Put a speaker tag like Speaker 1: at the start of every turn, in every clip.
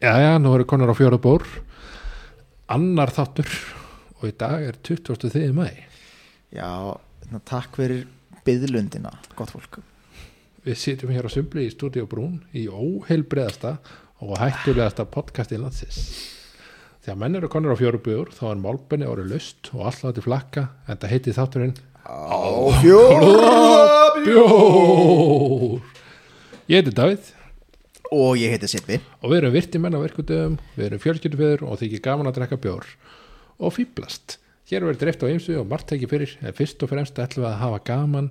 Speaker 1: já, já, nú eru konar á fjóra bór annar þáttur og í dag er 23. mæ
Speaker 2: Já, na, takk fyrir byðlundina, gott fólk
Speaker 1: við sitjum hér á Sumbli í Stúdíu Brún í óheilbreðasta og hættulegasta podcasti landsins þegar menn eru konar á fjóra bór þá er málbenni orðið lust og alltaf til flakka en það heiti þátturinn
Speaker 2: Ó, fjóra
Speaker 1: Bjór ég heiti Davíð
Speaker 2: Og ég heiti Sippi
Speaker 1: og við erum virti menn á verkudöfum við erum fjölskyldufeður og þykir gaman að drekka bjór og fýblast hér verður dreift á ymsu og margt ekki fyrir en fyrst og fremst ætlum við að hafa gaman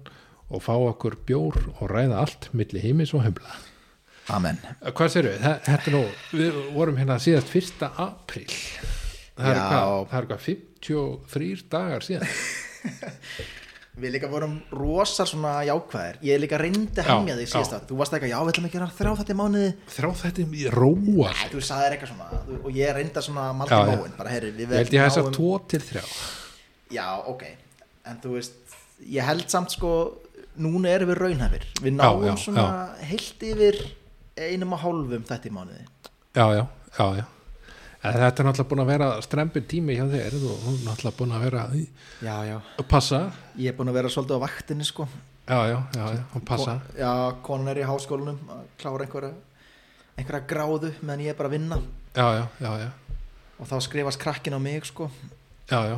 Speaker 1: og fá okkur bjór og ræða allt milli heimis og heimla
Speaker 2: Amen
Speaker 1: Eh, hvað sér við, Þa- þetta er nú við vorum hérna síðast fyrsta april það er
Speaker 2: Já.
Speaker 1: hvað, það er hvað 53 dagar síðan
Speaker 2: Við líka vorum rosar svona jákvæðir Ég líka reyndi að
Speaker 1: Já,
Speaker 2: hemja þig síðast
Speaker 1: já.
Speaker 2: að Þú varst eitthvað, já, við ætlum að gera þrjá þetta í mánuði
Speaker 1: þrá þetta í róa
Speaker 2: Æ, Þú sagðir eitthvað svona þú- Og ég reyndi að svona malda
Speaker 1: Já, já.
Speaker 2: móin Bara, heyri, við
Speaker 1: ég held ég að þessar
Speaker 2: náum-
Speaker 1: 2 til 3
Speaker 2: Já, ok En þú veist, ég held samt sko Núna erum við raunhæfir Við náum
Speaker 1: já,
Speaker 2: svona heilt yfir einum og hálfum þetta í mánuði
Speaker 1: já, já, já, já. En þetta er náttúrulega búin að vera strempin tími hjá þér þú þú er náttúrulega búin að vera í-
Speaker 2: Já, já
Speaker 1: að passa
Speaker 2: Ég er búin að vera svolítið á vaktinni sko
Speaker 1: já, já, já, já, og passa
Speaker 2: Ko- Já, konan er í háskólanum að klára einhverja einhverja gráðu meðan ég er bara að vinna
Speaker 1: já, já, já, já,
Speaker 2: og þá skrifast krakkin á mig sko
Speaker 1: já, já.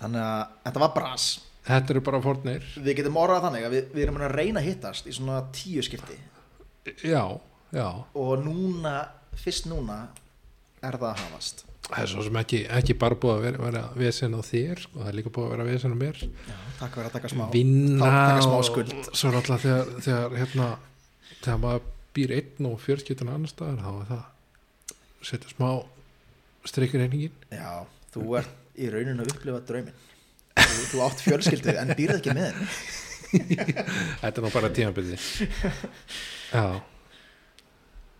Speaker 2: þannig að þetta var bras
Speaker 1: þetta eru bara fornir
Speaker 2: Við getum orðað þannig að við, við erum að reyna að hittast í svona tíu skipti
Speaker 1: já, já,
Speaker 2: og núna, fyrst núna er það að hafast
Speaker 1: það er svo sem ekki, ekki bara búið að vera, vera vesen á þér sko, það er líka búið að vera vesen á mér
Speaker 2: já, Takk fyrir að taka smá
Speaker 1: vinna
Speaker 2: þá taka smá
Speaker 1: og-
Speaker 2: skuld
Speaker 1: svo er alltaf þegar, þegar hérna, þegar maður býr einn og fjörskiptun annar staðar þá er það setja smá streikur einingin
Speaker 2: Já, þú ert í rauninu að upplifa drauminn þú, þú átt fjölskyldu en býrð ekki með henni
Speaker 1: Þetta er nú bara tímabili Já,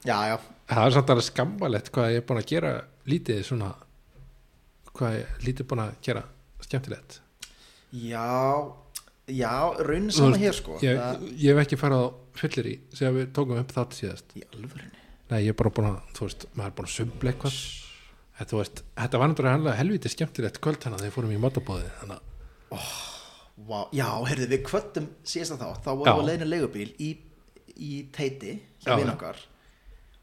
Speaker 2: Já, já,
Speaker 1: það er samt alveg skammalegt hvað ég er búin að gera lítið svona hvað ég er lítið búin að gera skemmtilegt
Speaker 2: Já, já, raunin
Speaker 1: Þú
Speaker 2: sama
Speaker 1: veist,
Speaker 2: hér sko
Speaker 1: ég,
Speaker 2: Það-
Speaker 1: ég hef ekki farið á fyllir í sem við tókum upp þátt síðast
Speaker 2: Í alvörinu
Speaker 1: Nei, ég er bara búin að, þú veist, maður er búin að sumbla eitthvað En þú veist, þetta var náttúrulega helviti skemmtilegt kvöld þannig að þeir fórum í matabóði þannig að
Speaker 2: Vá, Já, heyrðu, við kvöttum síðast að þá Þá
Speaker 1: Já.
Speaker 2: vorum við leiðinu leigubíl í, í teiti
Speaker 1: Já,
Speaker 2: hjá vinn
Speaker 1: já.
Speaker 2: okkar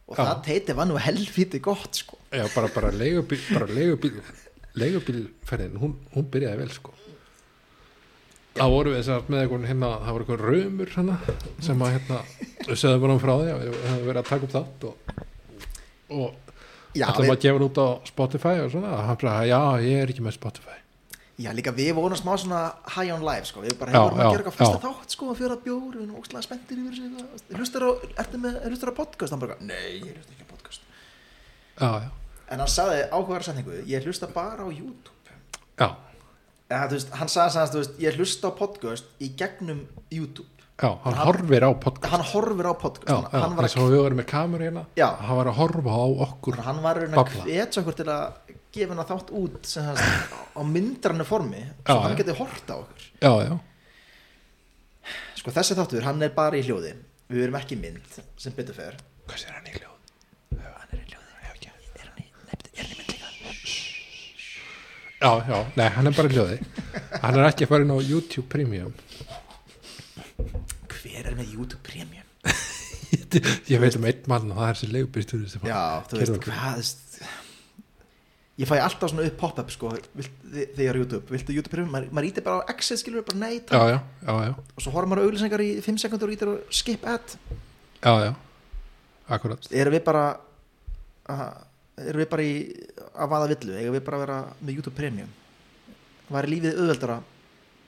Speaker 2: Og
Speaker 1: Já.
Speaker 2: það teiti var nú helfíti gott sko
Speaker 1: Já, bara, bara leigubíl, bara leigubíl leigubílferðin, hún, hún byrjaði vel sko þá vorum við sem sagt með einhvern hérna, það voru einhvern raumur hérna, sem að hérna við sögðum bara um frá því að við hefum verið að taka upp þátt og, og
Speaker 2: Já,
Speaker 1: ætlum að
Speaker 2: við,
Speaker 1: gefa hann út á Spotify og svona, og hann bara, já, ég er ekki með Spotify
Speaker 2: já, líka við vorum smá svona high on life sko Við bara
Speaker 1: Já,
Speaker 2: hefum að
Speaker 1: já,
Speaker 2: gera eitthvað fyrsta
Speaker 1: já.
Speaker 2: þátt sko Fjóra bjór, við erum ókslega spenntir yfir sig Hlustar á, ertu með, hlustar á podcast? Hann bara, nei, ég hlusta ekki á podcast
Speaker 1: já, já,
Speaker 2: En hann sagði áhugaðar setningu Ég hlusta bara á YouTube
Speaker 1: já,
Speaker 2: Ja, þú veist, hann sagði sagðist, þú veist, ég hlusta á podcast í gegnum YouTube
Speaker 1: já hann horfir á podcast
Speaker 2: hann horfir á podcast
Speaker 1: já,
Speaker 2: hann,
Speaker 1: já,
Speaker 2: hann var
Speaker 1: eins og við vorum með kameru hérna
Speaker 2: Já.
Speaker 1: hann var að horfa á okkur
Speaker 2: að hann var raun að
Speaker 1: Babla.
Speaker 2: hvetja okkur til að gefa hann þátt út sem hans, á myndrannu formi svo
Speaker 1: Já,
Speaker 2: hann
Speaker 1: já.
Speaker 2: geti hort á okkur
Speaker 1: já, já,
Speaker 2: sko þessi þáttur, hann er bara í hljóði við erum ekki í mynd sem betur fer
Speaker 1: hvað sér hann í hljóð?
Speaker 2: hann er í hljóði er hann í, nefnt, er hann í mynd líka
Speaker 1: Já, já, nei, hann er bara í hljóði Hann er ekki að fara inn á YouTube Premium
Speaker 2: hver er með YouTube Premium
Speaker 1: Ég veit um einn mann og það er sér leigubýrstur sem
Speaker 2: já, þú veist, hvað þú veist, ég fæ alltaf svona upp pop-up sko, vilt, þi- þegar YouTube, viltu YouTube Premium maður, maður ítir bara á exit, skilur bara nei takk.
Speaker 1: já, já, já, já,
Speaker 2: og svo horfum maður á auglýsingar í 5 sekundur og ítir og skip ad
Speaker 1: já, já. Akkurat
Speaker 2: erum við bara að- erum við bara í að vaða villu, eigum við bara að vera með YouTube Premium var lífið auðveldara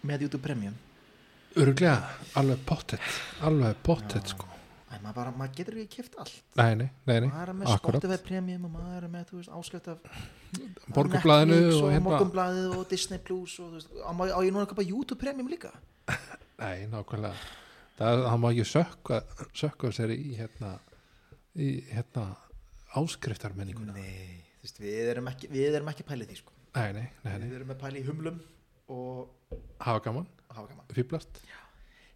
Speaker 2: með YouTube Premium
Speaker 1: Öruglega, alveg pottet Alveg pottet, sko
Speaker 2: Æ, maður, bara, maður getur ekki kæft allt
Speaker 1: Nei, nei, nei, nei,
Speaker 2: maður er með
Speaker 1: akkurat
Speaker 2: Spotify Premium og maður er með þú veist, áskjöft af
Speaker 1: Borgarblaðinu
Speaker 2: Netflix
Speaker 1: og
Speaker 2: og
Speaker 1: hérna
Speaker 2: Morgunblaðið og Disney Plus og, þú veist, á, má- á ég núna að köpa YouTube Premium líka
Speaker 1: Nei, nákvæmlega Það, það má ekki sökka sökka sér í hérna í hérna áskriftarmenninguna
Speaker 2: nei, þú veist, við erum ekki við erum ekki pælið því sko
Speaker 1: Nei, nei, nei, nei,
Speaker 2: við erum með pælið í humlum og
Speaker 1: hafa gaman,
Speaker 2: hafa gaman
Speaker 1: fýblast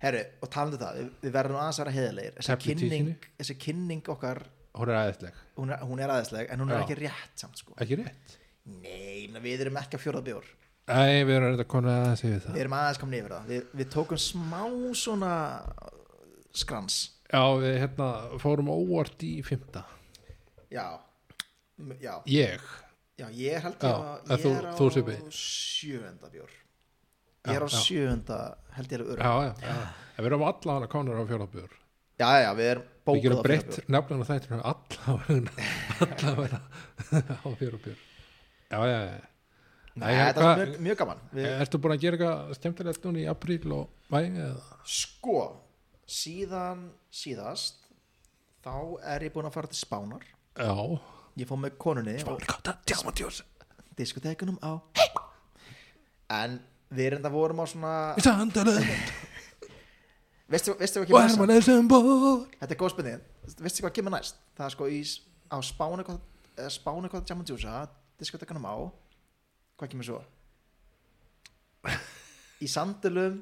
Speaker 2: Herru, og talandi um það, við, við verðum aðeins að vera heiðarlegir þessi
Speaker 1: Tefli
Speaker 2: kynning,
Speaker 1: tíkinni.
Speaker 2: þessi kynning okkar
Speaker 1: hún er aðeinsleg,
Speaker 2: hún er, hún er aðeinsleg en hún er
Speaker 1: Já.
Speaker 2: ekki rétt samt sko
Speaker 1: ekki rétt
Speaker 2: nei, ég meina, við erum ekki að fjóra bjór
Speaker 1: Æ, við erum reynda konar að segja það
Speaker 2: við erum aðeins komin yfir það við, við tókum smá svona uh, skrans
Speaker 1: Já, við hérna fórum óvart í fymta
Speaker 2: já, M- já,
Speaker 1: Ég,
Speaker 2: já ég held
Speaker 1: Já,
Speaker 2: ég, að-
Speaker 1: en
Speaker 2: ég
Speaker 1: þú-
Speaker 2: er á
Speaker 1: þú Sibbi.
Speaker 2: sjöunda bjór
Speaker 1: Já,
Speaker 2: ég er á
Speaker 1: já.
Speaker 2: sjöunda held ég er öru já.
Speaker 1: já, já, já.
Speaker 2: Ah.
Speaker 1: En Við erum allan að konar á fjólabjör
Speaker 2: já, já, við erum
Speaker 1: Við
Speaker 2: bókuð
Speaker 1: gerum
Speaker 2: á
Speaker 1: breytt
Speaker 2: fjórabjór
Speaker 1: nefnum þættinu allan að vera á fjólabjör Já, já, já
Speaker 2: Nei,
Speaker 1: Nei,
Speaker 2: þetta
Speaker 1: hvað- Eh.
Speaker 2: er mjög, mjög gaman við,
Speaker 1: Ertu búin að gera eitthvað skemmtilegt núna í apríl og væg eða?
Speaker 2: sko, síðan síðast þá er ég búin að fara til Spánar
Speaker 1: Já
Speaker 2: ég fór með konunni og-
Speaker 1: Bálkáta, djámatjós
Speaker 2: diskotekunum á en við erum það vorum á svona
Speaker 1: Í sandalu
Speaker 2: veistu, veistu hvað
Speaker 1: og
Speaker 2: kemur næst
Speaker 1: hermann eða bór
Speaker 2: þetta er góð spurning, veistu hvað kemur næst það er sko í, s- á spánu eitthvað- eða spánu eitthvað Jam and Juice diskotekunum á hvað kemur svo í sandulum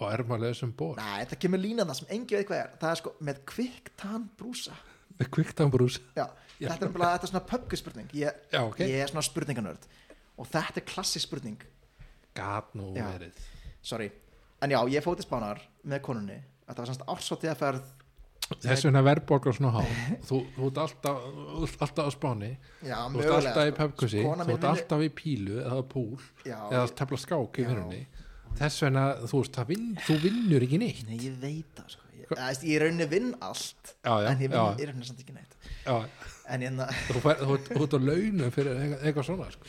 Speaker 1: Og hermann eða sem bór
Speaker 2: næ, þetta kemur lína það sem engi veit hvað er það er sko með kviktan brúsa
Speaker 1: Með kviktambrús
Speaker 2: Já, þetta er bara þetta er svona pöpku spurning ég,
Speaker 1: Já, ok.
Speaker 2: ég er svona spurninganörd og þetta er klassisk spurning
Speaker 1: Gat nú
Speaker 2: Já.
Speaker 1: verið
Speaker 2: sorry, en já, ég fótið spánar með konunni, þetta var semst ársóttið að ferð
Speaker 1: Þess vegna verðbókar svona há Þú, þú ert alltaf, þú ert alltaf á spáni
Speaker 2: já,
Speaker 1: Þú ert alltaf í
Speaker 2: sko.
Speaker 1: pöpkusi,
Speaker 2: Kona
Speaker 1: þú
Speaker 2: mín
Speaker 1: ert
Speaker 2: vinnur-
Speaker 1: alltaf í pílu eða púl
Speaker 2: Já,
Speaker 1: eða
Speaker 2: ég-
Speaker 1: tefla skák í
Speaker 2: Já.
Speaker 1: vinnunni Þess vegna, þú veist, það vinn, þú vinnur ekki neitt
Speaker 2: Nei, ég veit það, sko. Ég, eða, veist, ég raunni vinn allt,
Speaker 1: Já, já,
Speaker 2: en ég
Speaker 1: já.
Speaker 2: vinn, ég raunni samt ekki neitt.
Speaker 1: Já,
Speaker 2: En hérna, ég, na-
Speaker 1: þú fær, þú ert- þú ert á launum fyrir eitthvað, eitthvað svona sko.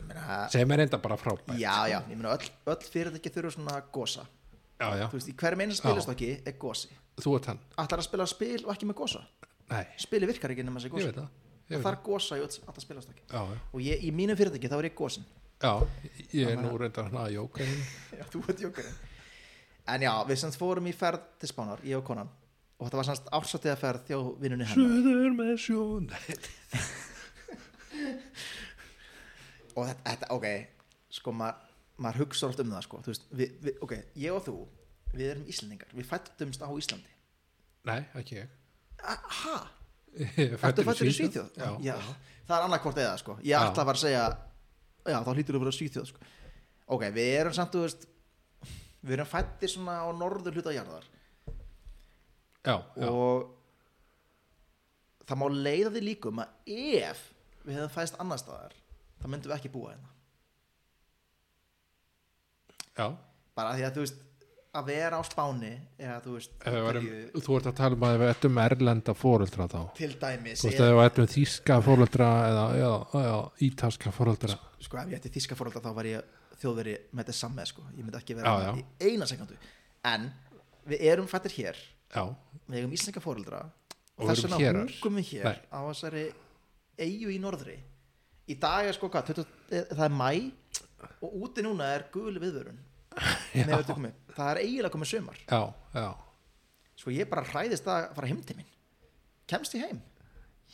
Speaker 2: ég meina,
Speaker 1: sem er enda bara frábært
Speaker 2: já, já, ég meina, öll, öll fyrirtæki þurfa svona gosa.
Speaker 1: já, já.
Speaker 2: Þú veist, í hverjum einu spilastokki er gosi.
Speaker 1: þú ert hann
Speaker 2: Ætlar að spila spil og ekki með gosa.
Speaker 1: Nei,
Speaker 2: Spili virkar ekki nema þessi
Speaker 1: ég
Speaker 2: gosa.
Speaker 1: veit það, ég veit
Speaker 2: Sko, Það
Speaker 1: það.
Speaker 2: er gosa í öll, alltaf spilastokki.
Speaker 1: Já, já.
Speaker 2: Og ég, í mínu fyrirtæki, þá er ég gosin.
Speaker 1: já, ég er nú reyndar hann að jóka hérna.
Speaker 2: Já, þú ert jókurinn En já, við semst fórum í ferð til Spánar, ég og konan Og þetta var semst ársáttiða ferð þjó vinnunni hennar
Speaker 1: Suður með sjón Nei,
Speaker 2: Og þetta, þetta ok, sko maður maður hugsa oft um það sko Þú veist, við, við, ok, ég og þú, við erum Íslendingar Við fættumst á Íslandi
Speaker 1: Nei, ekki ég
Speaker 2: A- Ha?
Speaker 1: Ég er
Speaker 2: Ertu
Speaker 1: fæddur
Speaker 2: fættur í Svíþjóð?
Speaker 1: Já, já.
Speaker 2: það er annarkvort eða sko Ég
Speaker 1: Já.
Speaker 2: ætla að var að segja, já, þá hlýtur þú að vera Svíþjóð sko Ok, við erum samt, þú veist Við erum fættir svona á norður hluta jarðar
Speaker 1: já, já.
Speaker 2: og það má leiða því líkum að ef við hefðum fæst annar staðar þá myndum við ekki búa hérna
Speaker 1: já.
Speaker 2: bara af því að þú veist að vera á Spáni eða þú veist
Speaker 1: Ef við Varum,
Speaker 2: Ítalíu
Speaker 1: þú ert að tala um að við ættum erlenda fóreldra þá
Speaker 2: til dæmis
Speaker 1: Þú veist,
Speaker 2: eða,
Speaker 1: ef við ættum þýska fóröldra eða, eða, eða ítalska fóröldra
Speaker 2: sko ef ég ætti þíska fórhalda þá var ég þjóðveri með þetta samme sko ég myndi ekki vera
Speaker 1: Já, já.
Speaker 2: í eina sekundu en við erum fættir hér
Speaker 1: Já,
Speaker 2: við eigum íslenska fórhalda og,
Speaker 1: Og
Speaker 2: þess
Speaker 1: erum
Speaker 2: vegna
Speaker 1: hérar.
Speaker 2: húkum við hér
Speaker 1: Nei.
Speaker 2: á þessari eigu í norðri í dag er sko hvað 20, eh, það er mæ og úti núna er gul viðvörun með öllu komið. það er eiginlega komið sömar
Speaker 1: já, já
Speaker 2: sko ég bara hræðist það að fara heim til mín kemst ég heim,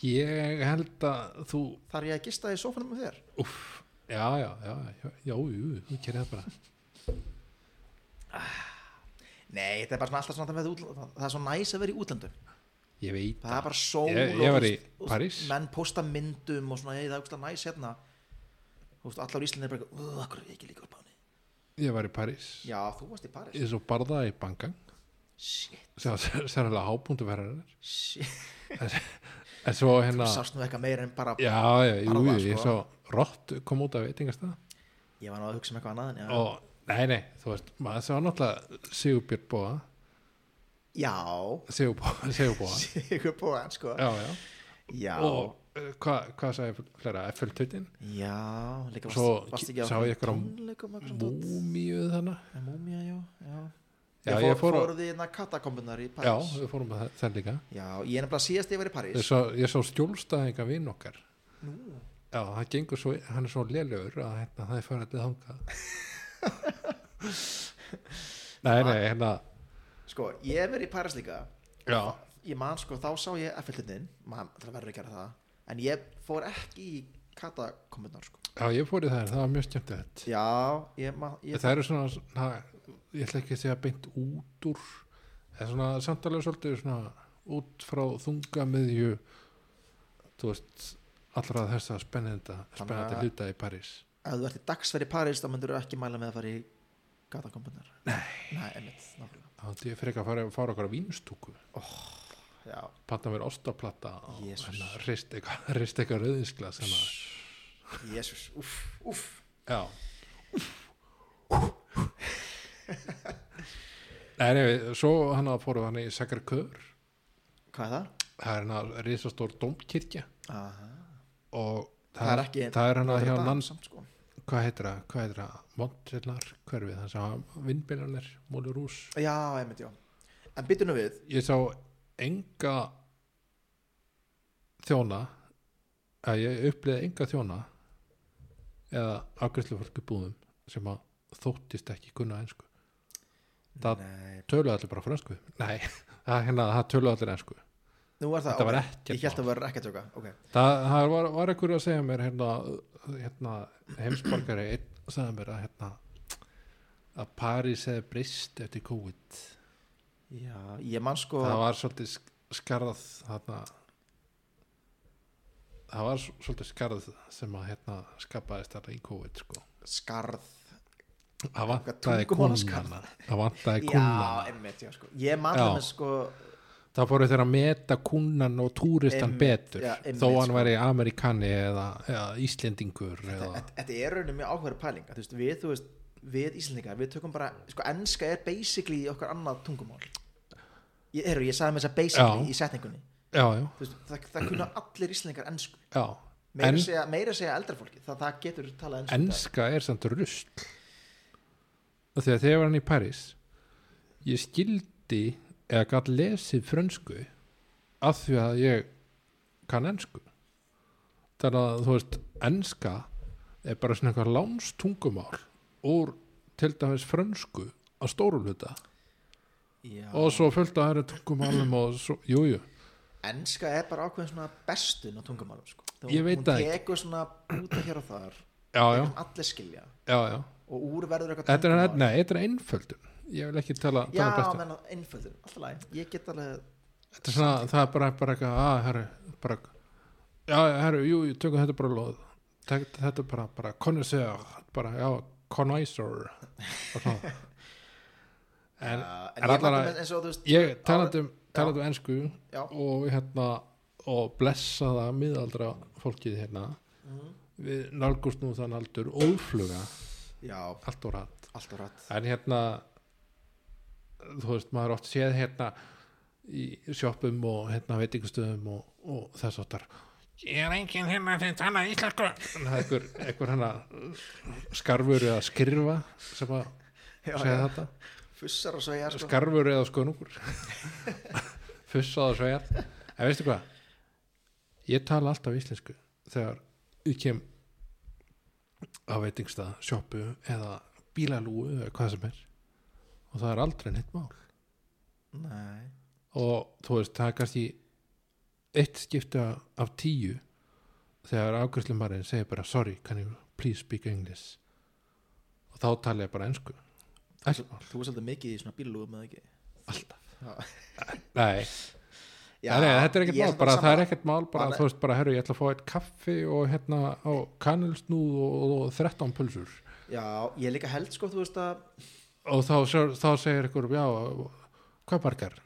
Speaker 1: Ég held að þú
Speaker 2: þar ég að gista í sófanum með þér
Speaker 1: Úff, já, já, já Já, já, jú, þú gerir það bara
Speaker 2: nei, þetta er bara svona alltaf svona það, með útl- það er svo næs að vera í útlöndum
Speaker 1: Ég veit
Speaker 2: það er bara sól
Speaker 1: Ég-
Speaker 2: og
Speaker 1: ég var
Speaker 2: þú
Speaker 1: í
Speaker 2: veist, og
Speaker 1: París.
Speaker 2: menn posta myndum og svona, ég, það er úkslega næs hérna Þú veist, allar í Íslandi er bara eitthvað, "Ugh, af hverju er ég ekki líka á báni
Speaker 1: Ég var í París
Speaker 2: já, þú varst í Paris
Speaker 1: Ég svo barða í bankan
Speaker 2: shit
Speaker 1: sem sérlega hábúndu verðarinnar
Speaker 2: Shit,
Speaker 1: En svo hérna
Speaker 2: sást nú eitthvað meira en bara
Speaker 1: Já, já, jú,
Speaker 2: Barða,
Speaker 1: ég
Speaker 2: sko.
Speaker 1: svo Rott kom út af veitingastæða
Speaker 2: Ég var nú að hugsa um eitthvað annað en já.
Speaker 1: og nei, nei, þú veist, maður svo náttúrulega Sigurbjörn Bóa
Speaker 2: já,
Speaker 1: Sigurbóa, Sigurbóa
Speaker 2: sigur búan sko
Speaker 1: Já, já,
Speaker 2: Já,
Speaker 1: og uh, hvað hva sagði flera FL-tutin
Speaker 2: já líka
Speaker 1: Svo
Speaker 2: varst, varst ekki á
Speaker 1: sá ég eitthvað á
Speaker 2: tónleikum eitthvað svona dót?
Speaker 1: múmíuð þannig
Speaker 2: En Múmía, já, já
Speaker 1: Já,
Speaker 2: Ég
Speaker 1: ég fór
Speaker 2: fór,
Speaker 1: á-
Speaker 2: fór því innan katakombunar í
Speaker 1: já,
Speaker 2: París Já,
Speaker 1: við fórum að það- það líka
Speaker 2: ég er nefnilega síðast ég var í
Speaker 1: ég
Speaker 2: París
Speaker 1: sá, ég sá skjólstæðinga vinn okkar já, það gengur svo hann er svo lélugur að hérna, það er farið til þangað nei, nei, hérna
Speaker 2: Sko, ég hef verið í París líka
Speaker 1: já,
Speaker 2: Ég man, sko, þá sá ég Eiffeltindin Man, það verður ekki að gera það En ég fór ekki í katakombunar sko.
Speaker 1: já, ég fór í það það var mjög skemmtilegt
Speaker 2: Já, ég, man, ég
Speaker 1: það eru svona, na, ég ætla ekki að segja beint út úr það er svona samtalið svolítið svona út frá þunga miðju þú veist allra þessa spennenda
Speaker 2: Þannig
Speaker 1: spennandi
Speaker 2: að-
Speaker 1: hluta í París
Speaker 2: ef þú ert í dagsferð í París þá myndur þú ekki mæla með að fara í gatakombunar nei, nei einmitt, nákvæmlega.
Speaker 1: þá ætti ég frekar að fara, fara okkar á vínstúku
Speaker 2: já,
Speaker 1: panna mér ostaplata og
Speaker 2: Jesús.
Speaker 1: hérna, rist eitthvað rist eitthvað rauðinsglas hérna.
Speaker 2: jésus, uff, uff
Speaker 1: já Nei, nei, svo hann að fóru hann í Sakarkör
Speaker 2: hvað er það?
Speaker 1: það er hann að risastór domkirkja
Speaker 2: Aha.
Speaker 1: og
Speaker 2: það er ekki
Speaker 1: það er hann að Hérna hjá
Speaker 2: Notre Dame
Speaker 1: lands
Speaker 2: samt, sko.
Speaker 1: hvað heitir það, hvað heitir það Montrenar, hverfið, þannig að vindbyrjanir, Mólurús
Speaker 2: já, einmitt, já en byttu nú við,
Speaker 1: ég sá enga þjóna að ég upplýði enga þjóna eða afgjörslu fólki búðum sem að þóttist ekki kunna einsku Það-
Speaker 2: nei,
Speaker 1: töluðu allir bara fransku nei, það, hérna, það töluðu allir einsku
Speaker 2: nú var það
Speaker 1: þetta var
Speaker 2: ok.
Speaker 1: ekkert
Speaker 2: ég held
Speaker 1: mál.
Speaker 2: að vera ekki að tjóka ok,
Speaker 1: það, það var, var ekkur að segja mér hérna, hérna heimsborgari einn sagði mér að hérna að París hefði breyst eftir COVID
Speaker 2: já, ég man sko
Speaker 1: það var svolítið sk- skarð hérna það var s- svolítið skarð sem að hérna skapaðist þarna í COVID sko
Speaker 2: skarð
Speaker 1: það vantaði
Speaker 2: tungumálaskarð.
Speaker 1: kunnana það vantaði
Speaker 2: já,
Speaker 1: kunnana
Speaker 2: einmitt, já, sko ég man
Speaker 1: Já.
Speaker 2: það með sko
Speaker 1: það fóru þeir að meta kunnan og túristan
Speaker 2: Einmitt,
Speaker 1: betur
Speaker 2: já, einmitt,
Speaker 1: þó hann
Speaker 2: sko.
Speaker 1: væri amerikani eða, eða Íslendingur eða,
Speaker 2: þetta þetta er rauninni mjög áhverju pæling að, þú veist, við, þú veist, við Íslandingar við tökum bara, sko, enska er basically okkar annað tungumál ég, eru, ég sagði með þess að
Speaker 1: Já.
Speaker 2: basically í setningunni
Speaker 1: já, já,
Speaker 2: Þú veist, það, það kunna allir Íslandingar ensku
Speaker 1: já
Speaker 2: meira,
Speaker 1: en,
Speaker 2: segja, meira segja eldra fólki það, það getur talað ensku í dag.
Speaker 1: enska er samt rusl og þegar þegar ég var hann í París ég skildi eða gætt lesið frönsku af því að ég kann ensku þannig að þú veist enska er bara svona eitthvað lánstungumál úr til dæmis frönsku að stóru hluta
Speaker 2: Já.
Speaker 1: og svo fullt að það eru tungumálum og svo, jú, jú,
Speaker 2: enska er bara ákveðin svona bestun á tungumálum sko. Þú-
Speaker 1: Ég veit
Speaker 2: hún
Speaker 1: það ekki.
Speaker 2: tekur svona út hér og þar
Speaker 1: já, já,
Speaker 2: sem allir skilja
Speaker 1: já, já
Speaker 2: og úr verður eitthvað
Speaker 1: þetta er, hérna
Speaker 2: tungumál.
Speaker 1: nei, þetta er einföldun ég vil ekki tala,
Speaker 2: já,
Speaker 1: tala bestu
Speaker 2: menn einföldur, alltaf læg ég get alveg,
Speaker 1: þetta er svona, það er bara, bara eitthvað að, herru, bara já, herru, jú, jú, tökum þetta bara loð Tek, þetta er bara, bara, connoisseur bara, já, connoisseur og svona en
Speaker 2: uh,
Speaker 1: er
Speaker 2: en ég
Speaker 1: allar
Speaker 2: man
Speaker 1: að-
Speaker 2: það eins og þú veist
Speaker 1: ég talandi um, talandi um ensku
Speaker 2: já,
Speaker 1: og hérna og blessaða miðaldra fólkið hérna
Speaker 2: Mhm.
Speaker 1: við nálgust nú þann aldur ófluga
Speaker 2: já,
Speaker 1: allt og rætt
Speaker 2: alltaf rætt
Speaker 1: en hérna þú veist maður oft séð hérna í sjoppum og hérna veitingastöðum og, og þess áttar ég er enginn hérna sem tala íslensku En það er einhver, einhver hérna skarfur eða skrifa sem að
Speaker 2: Já,
Speaker 1: segja
Speaker 2: já.
Speaker 1: þetta
Speaker 2: fussar og segja sko.
Speaker 1: skarfur eða skönungur fussað og svegar en veistu hvað ég tala alltaf íslensku þegar ég kem á veitingstað, sjoppu eða bílalúu eða hvað sem er og það er aldrei neitt mál
Speaker 2: nei,
Speaker 1: og þú veist, það er kannski eitt skipta af tíu þegar afgjörslumarinn segir bara sorry, can you please speak English og þá tala ég bara ensku Ekkert mál,
Speaker 2: þú er svolítið mikið í svona bílugum eða ekki
Speaker 1: alltaf nei nei, nei, þetta er ekkert
Speaker 2: ég
Speaker 1: mál,
Speaker 2: samt
Speaker 1: bara, það er
Speaker 2: sammála.
Speaker 1: ekkert mál bara,
Speaker 2: Bara-
Speaker 1: þú veist, bara, herru, ég ætla að fá eitt kaffi og hérna, og kanilsnúð og, og, og 13 pulsur
Speaker 2: já, ég líka held sko, þú veist að
Speaker 1: og þá, þá, þá segir ykkur, já, hvað margar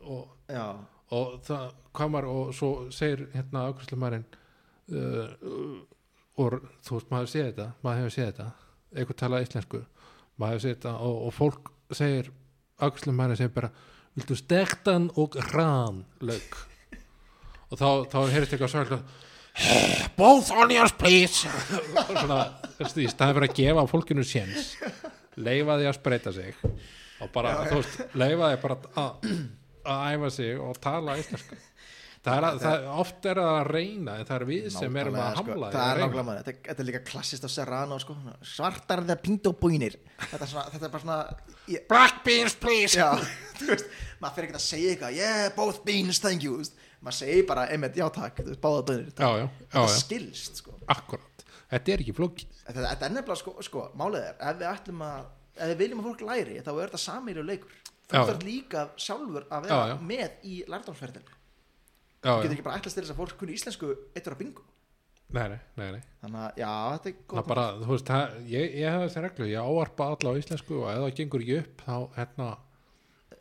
Speaker 1: og,
Speaker 2: já,
Speaker 1: og það, hvað margar og svo segir hérna ákvæmstumærin uh, og þú veist, maður séð þetta maður hefur séð þetta, eitthvað talað íslensku maður hefur séð þetta og, og fólk segir, ákvæmstumærin segir bara viltu stektan og rán lög og þá, þá heyrist eitthvað svo eitthvað both onions please Og svona, þessi, í staði fyrir að gefa fólkinu séns leifa því að spreita sig og bara, þú veist, leifa því bara að, að æfa sig og tala íslensku það er að, það, oft er það að reyna en það er við sem erum
Speaker 2: nákvæmlega,
Speaker 1: að hamla
Speaker 2: sko,
Speaker 1: því
Speaker 2: það
Speaker 1: að
Speaker 2: er
Speaker 1: reyna.
Speaker 2: nákvæmlega maður, þetta, þetta er líka klassist á Serrano sko, svona, svartar þegar pínt og búinir þetta er, svona, þetta er bara svona ég,
Speaker 1: black beans please
Speaker 2: já, þú veist, maður fyrir ekki að segja eitthvað yeah, both beans, thank you þú veist. maður segir bara, einmitt, já takk, þú veist, báða bönir
Speaker 1: já, já, já,
Speaker 2: þetta
Speaker 1: já,
Speaker 2: skilst sko.
Speaker 1: akkurat þetta er ekki flókin
Speaker 2: þetta, þetta er nefnilega, sko, sko, málið er ef við ætlum að, ef við viljum að fólk læri þá er þetta samýri leikur þú
Speaker 1: Já.
Speaker 2: þarf líka sjálfur að vera
Speaker 1: Já, já.
Speaker 2: með í lærdámsferðin þú
Speaker 1: já,
Speaker 2: getur
Speaker 1: já,
Speaker 2: ekki bara ætlast til þess að fólk kunni íslensku eittur að bingo
Speaker 1: nei, nei, nei, nei.
Speaker 2: þannig að já, þetta er
Speaker 1: það
Speaker 2: góð
Speaker 1: bara, þú veist, það, ég, ég hef þessi reglu ég ávarpa alla á íslensku og ef það gengur ekki upp þá, hérna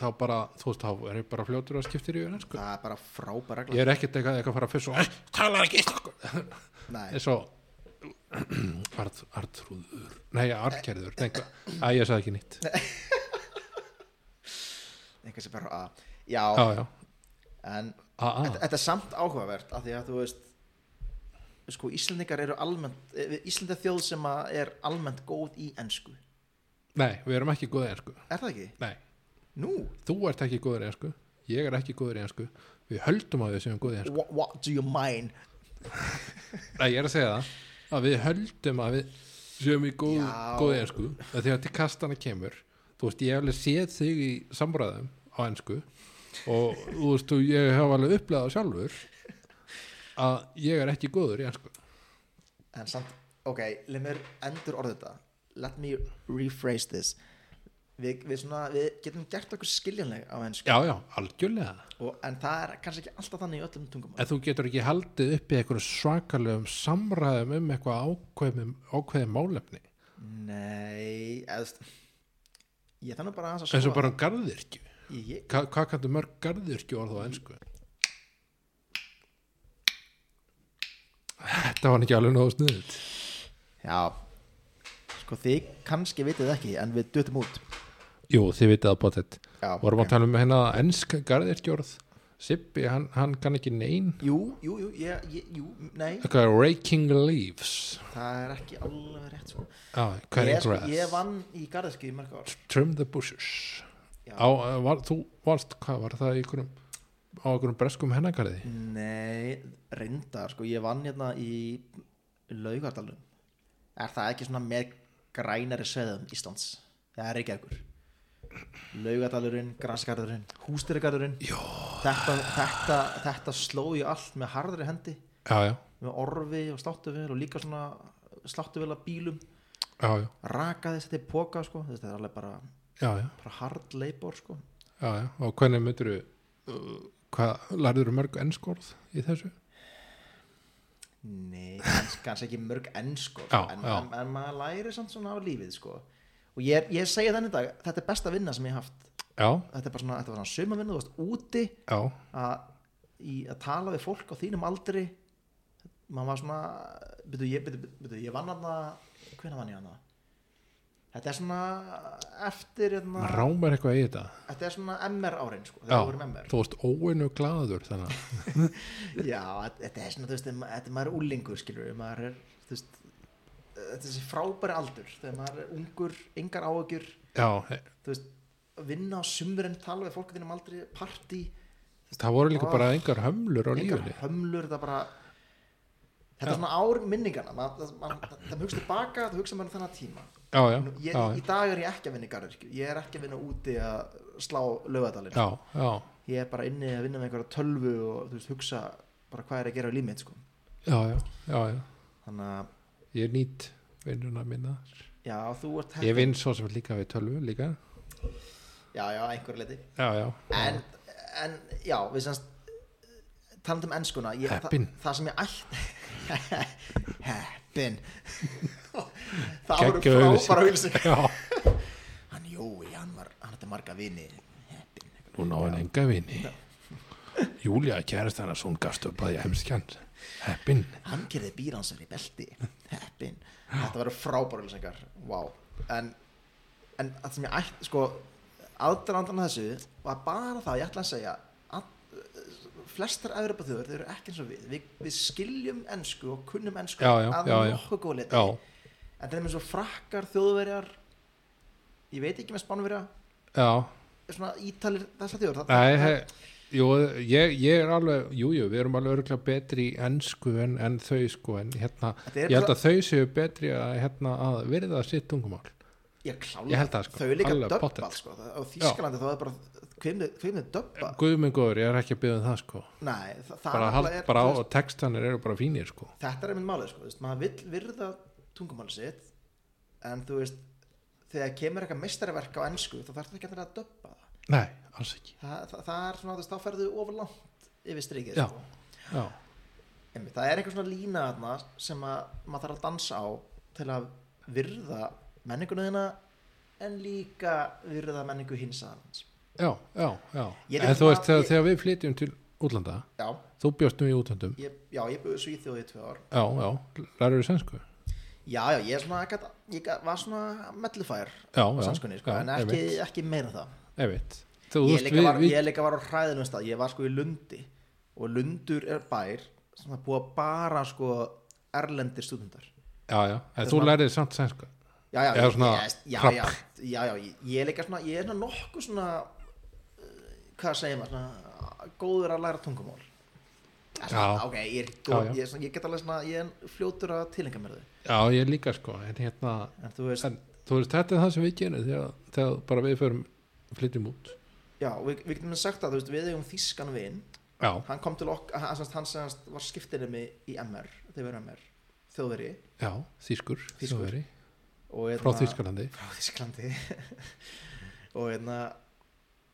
Speaker 1: þá bara, þú veist, þá er ég bara fljótur að skiptir í öðrensku,
Speaker 2: það er bara frábær regla
Speaker 1: ég er ekkert eitthvað, eitthvað að fara fyrst og "Æ, talar ekki íslensku
Speaker 2: Nei,
Speaker 1: eins og Art, Artrúður, nei, Artgerður nei, hvað- Æ, ég sagði ekki nýtt
Speaker 2: einhvers er bara að já,
Speaker 1: já, já, Ah,
Speaker 2: en
Speaker 1: a, a,
Speaker 2: þetta, þetta er samt áhugavert af því að þú veist sko, Íslendingar eru almennt Íslenda þjóð sem að er almennt góð í ensku,
Speaker 1: nei, við erum ekki góðið einsku
Speaker 2: er það ekki?
Speaker 1: nei,
Speaker 2: Nú,
Speaker 1: þú ert ekki góður í einsku ég er ekki góður í einsku við höldum að við séum góðið einsku
Speaker 2: what, what do you mind?
Speaker 1: nei, ég er að segja það að við höldum að við séum í góð,
Speaker 2: Já.
Speaker 1: góðið einsku þegar til kastana kemur þú veist, ég hef alveg séð þig í samræðum á einsku og þú veist, og ég hef alveg upplegað það sjálfur að ég er ekki góður í einsku
Speaker 2: En samt, ok, leið mér endur orðið þetta Let me rephrase this Við, við, svona, við getum gert okkur skiljanleg á ensku
Speaker 1: já, já, algjörlega
Speaker 2: og, En það er kannski ekki alltaf þannig í öllum tungumál
Speaker 1: En þú getur ekki haldið upp í einhverju svakalegum samræðum um eitthvað ákveðum, ákveðum málefni
Speaker 2: Nei, eðst Ég þannig bara aðeins að
Speaker 1: eins og
Speaker 2: skoða
Speaker 1: bara um garðirkju
Speaker 2: Ég,
Speaker 1: Hva, hvað kanntu mörg garðirkju orð á ennsku? Þetta var ekki alveg nógu sniðut
Speaker 2: Já Sko þið kannski vitið ekki en við dutum út
Speaker 1: Jú, þið vitið að bótt þetta
Speaker 2: Já,
Speaker 1: Vorum
Speaker 2: ok.
Speaker 1: að tala um hérna ennsk garðirkju orð Sippi, hann, hann kann ekki nein
Speaker 2: Jú, jú, jú, ég, ég, jú, nei
Speaker 1: Eitthvað raking leaves
Speaker 2: Það er ekki alveg rétt sko
Speaker 1: ah,
Speaker 2: Ég,
Speaker 1: Cutting
Speaker 2: sko, ég
Speaker 1: grass
Speaker 2: vann í garðiski í mörg ár
Speaker 1: Trim the bushes
Speaker 2: Já.
Speaker 1: á, eh, var, Þú varst, hvað var það í einhverjum á einhverjum breskum hennagarði
Speaker 2: Nei, reyndar sko Ég vann hérna í Laugardalum Er það ekki svona með grænari sveðum Íslands? Það er ekki ekkur Laugardalurinn, Grasgarðurinn, Hústyrgarðurinn þetta, þetta, þetta sló ég allt með harðri hendi
Speaker 1: já, já,
Speaker 2: með orfi og sláttuvel og líka svona sláttuvel að bílum
Speaker 1: já, já,
Speaker 2: rakaði þetta í póka sko. þetta er alveg bara,
Speaker 1: já, já,
Speaker 2: bara hard labor sko.
Speaker 1: já, já. og hvernig myndir hvað, lærður mörg ennskorð í þessu?
Speaker 2: nei, kannski, kannski ekki mörg enn sko,
Speaker 1: Já,
Speaker 2: en,
Speaker 1: já.
Speaker 2: En, en maður læri samt svona á lífið sko. og ég, er- ég segja þannig í dag þetta er besta vinna sem ég hef haft
Speaker 1: Já,
Speaker 2: þetta er bara svona, þetta var svona sumavinna, þú varst úti
Speaker 1: já,
Speaker 2: að, í, að tala við fólk á þínum aldri maður var svona byrju, ég, byrju, byrju, ég vann hana hvenær vann ég hana þetta er svona eftir hérna,
Speaker 1: maður rámar eitthvað í þetta
Speaker 2: þetta er svona MR árin sko,
Speaker 1: Já,
Speaker 2: þegar við vorum MR
Speaker 1: þú varst óinu glaður þannig að-
Speaker 2: já, þetta er svona, þú veist, ma- þetta er maður er úlingur skilur, maður er þú veist, eh, þetta er þessi frábæri aldur þegar maður er ungur, engar áökjur
Speaker 1: Já, eh,
Speaker 2: þú veist, vinna á sumurinn tala við fólk á þínum aldri, partí
Speaker 1: það voru líka
Speaker 2: Ó.
Speaker 1: bara engar hömlur á
Speaker 2: engar
Speaker 1: lífinni
Speaker 2: hömlur það bara þetta er svona ár minningana ma, það, ma, það, það hugsa tilbaka, það hugsa maður þannig tíma
Speaker 1: Já, já,
Speaker 2: Nú, ég,
Speaker 1: já,
Speaker 2: í dag er ég ekki að vinna í garðirkju ég er ekki að vinna úti að slá lögadalinn
Speaker 1: já, já,
Speaker 2: ég er bara inni að vinna með einhverja tölvu og þú veist, hugsa bara hvað er að gera í límið sko.
Speaker 1: já, já, já, já.
Speaker 2: þannig að,
Speaker 1: ég nýtt vinnuna minna
Speaker 2: já, þú ert
Speaker 1: ég vinn svo sem líka við tölvu líka
Speaker 2: já, já, einhverju leiti
Speaker 1: já, já, já,
Speaker 2: en, en, já, við semst talandi um ennskuna ég, það-
Speaker 1: Heppin.
Speaker 2: það sem ég ætti heppin það voru
Speaker 1: Geggjuð auglýsing.
Speaker 2: frábæra auðlýsing
Speaker 1: já.
Speaker 2: hann Jói, hann var, hann hætti marga vini heppin
Speaker 1: Hún á hann enga vini Júlia kærast hann að svo hún gafst upp að ég heimski hann Heppin
Speaker 2: hann gerði býransar í belti heppin, þetta verður frábárulsengar wow, en en það sem ég ætti, sko aðdrarandan að þessu var bara það ég ætla að segja að, eh, flestar Evropa þjóður, þau eru ekki eins og við við, við skiljum ensku og kunnum ensku
Speaker 1: Já, já,
Speaker 2: að
Speaker 1: já, já.
Speaker 2: nokkuð góð liti
Speaker 1: Já,
Speaker 2: en það er með svo frakkar þjóðverjar ég veit ekki með spánverja
Speaker 1: já
Speaker 2: svona ítalir þessar þjóður það-
Speaker 1: Nei,
Speaker 2: það-
Speaker 1: he, jú, ég, ég er alveg Jú, jú, við erum alveg örgulega betri í ennsku en, en þau sko en hérna,
Speaker 2: Þetta er
Speaker 1: ég held að þau séu betri að, hérna, að virða sitt tungumál
Speaker 2: Ég klála,
Speaker 1: Ég held það, sko.
Speaker 2: þau er líka
Speaker 1: Alveg
Speaker 2: döbbað
Speaker 1: pottet.
Speaker 2: sko. Það- á Þýskalandi þá er bara hvimni döbba
Speaker 1: Guðminn góður, ég er ekki að byggja um það sko
Speaker 2: Nei, það, það
Speaker 1: bara, hald,
Speaker 2: nefnilega er,
Speaker 1: bara á
Speaker 2: þú veist,
Speaker 1: og textanir eru bara fínir sko
Speaker 2: þetta er einmitt málið sko. þú veist, maður vill virða tungumáli sitt en þú veist þegar kemur eitthvað meistarverk á ennsku þá þarf þetta ekki endilega að döbba það
Speaker 1: nei, alls ekki
Speaker 2: það, það, það er svona, þú veist, þá ferðu ofurlangt yfir strikið
Speaker 1: Já.
Speaker 2: sko.
Speaker 1: já,
Speaker 2: Einmitt, það er eitthvað svona lína þarna sem að maður þarf að dansa á til að virða menninguna þína en líka virða menningu hins aðeins
Speaker 1: já, já, já.
Speaker 2: Ég er
Speaker 1: en
Speaker 2: ekki
Speaker 1: þú
Speaker 2: bara-
Speaker 1: veist, þegar,
Speaker 2: ég-
Speaker 1: þegar við flytjum til útlanda,
Speaker 2: já,
Speaker 1: þú bjóst nú í útlandum
Speaker 2: ég, já, ég búið svíþjóði í tvö ár
Speaker 1: já, já, lærur við sænsku
Speaker 2: já, já, ég, er svona, gat, ég gat, var svona mellufær
Speaker 1: já, já,
Speaker 2: sannskunni, sko,
Speaker 1: já,
Speaker 2: en ekki, ekki meira en það
Speaker 1: ég veit þú
Speaker 2: ég,
Speaker 1: veist,
Speaker 2: líka
Speaker 1: við,
Speaker 2: var,
Speaker 1: við,
Speaker 2: ég líka var á hræðinum stað ég var sko í Lundi og Lundur er bær sem það búa bara sko erlendir stúdendar
Speaker 1: já, já, en
Speaker 2: Þetta
Speaker 1: þú
Speaker 2: var-
Speaker 1: lærið samt sænsku
Speaker 2: já, já,
Speaker 1: Eða
Speaker 2: ég-
Speaker 1: svona
Speaker 2: ég- já,
Speaker 1: krabb.
Speaker 2: já, já, já, ég- ég er líka svona ég er svona nokkuð svona uh, hvað segir maður, svona góður að læra tungumál Það er svona,
Speaker 1: Já.
Speaker 2: ok, ég er,
Speaker 1: Já,
Speaker 2: góð,
Speaker 1: já.
Speaker 2: Ég, er svona, ég get alveg svona ég er fljótur að tilenga mér þau
Speaker 1: já, ég líka sko, en hérna
Speaker 2: en þú veist,
Speaker 1: en, þú veist, þetta er það sem við gerum þegar, þegar bara við förum flytjum út
Speaker 2: já, við, við getum sagt að þú veist, við eigum þýskan vin
Speaker 1: já,
Speaker 2: hann kom til okk, hann, hann, hann, hann var skiptinni í MR, þegar við erum MR þjóðveri
Speaker 1: já, þýskur
Speaker 2: Þýskur.
Speaker 1: Þjóðverji,
Speaker 2: og
Speaker 1: frá
Speaker 2: hérna-
Speaker 1: Þýskalandi
Speaker 2: frá Þísklandi og hérna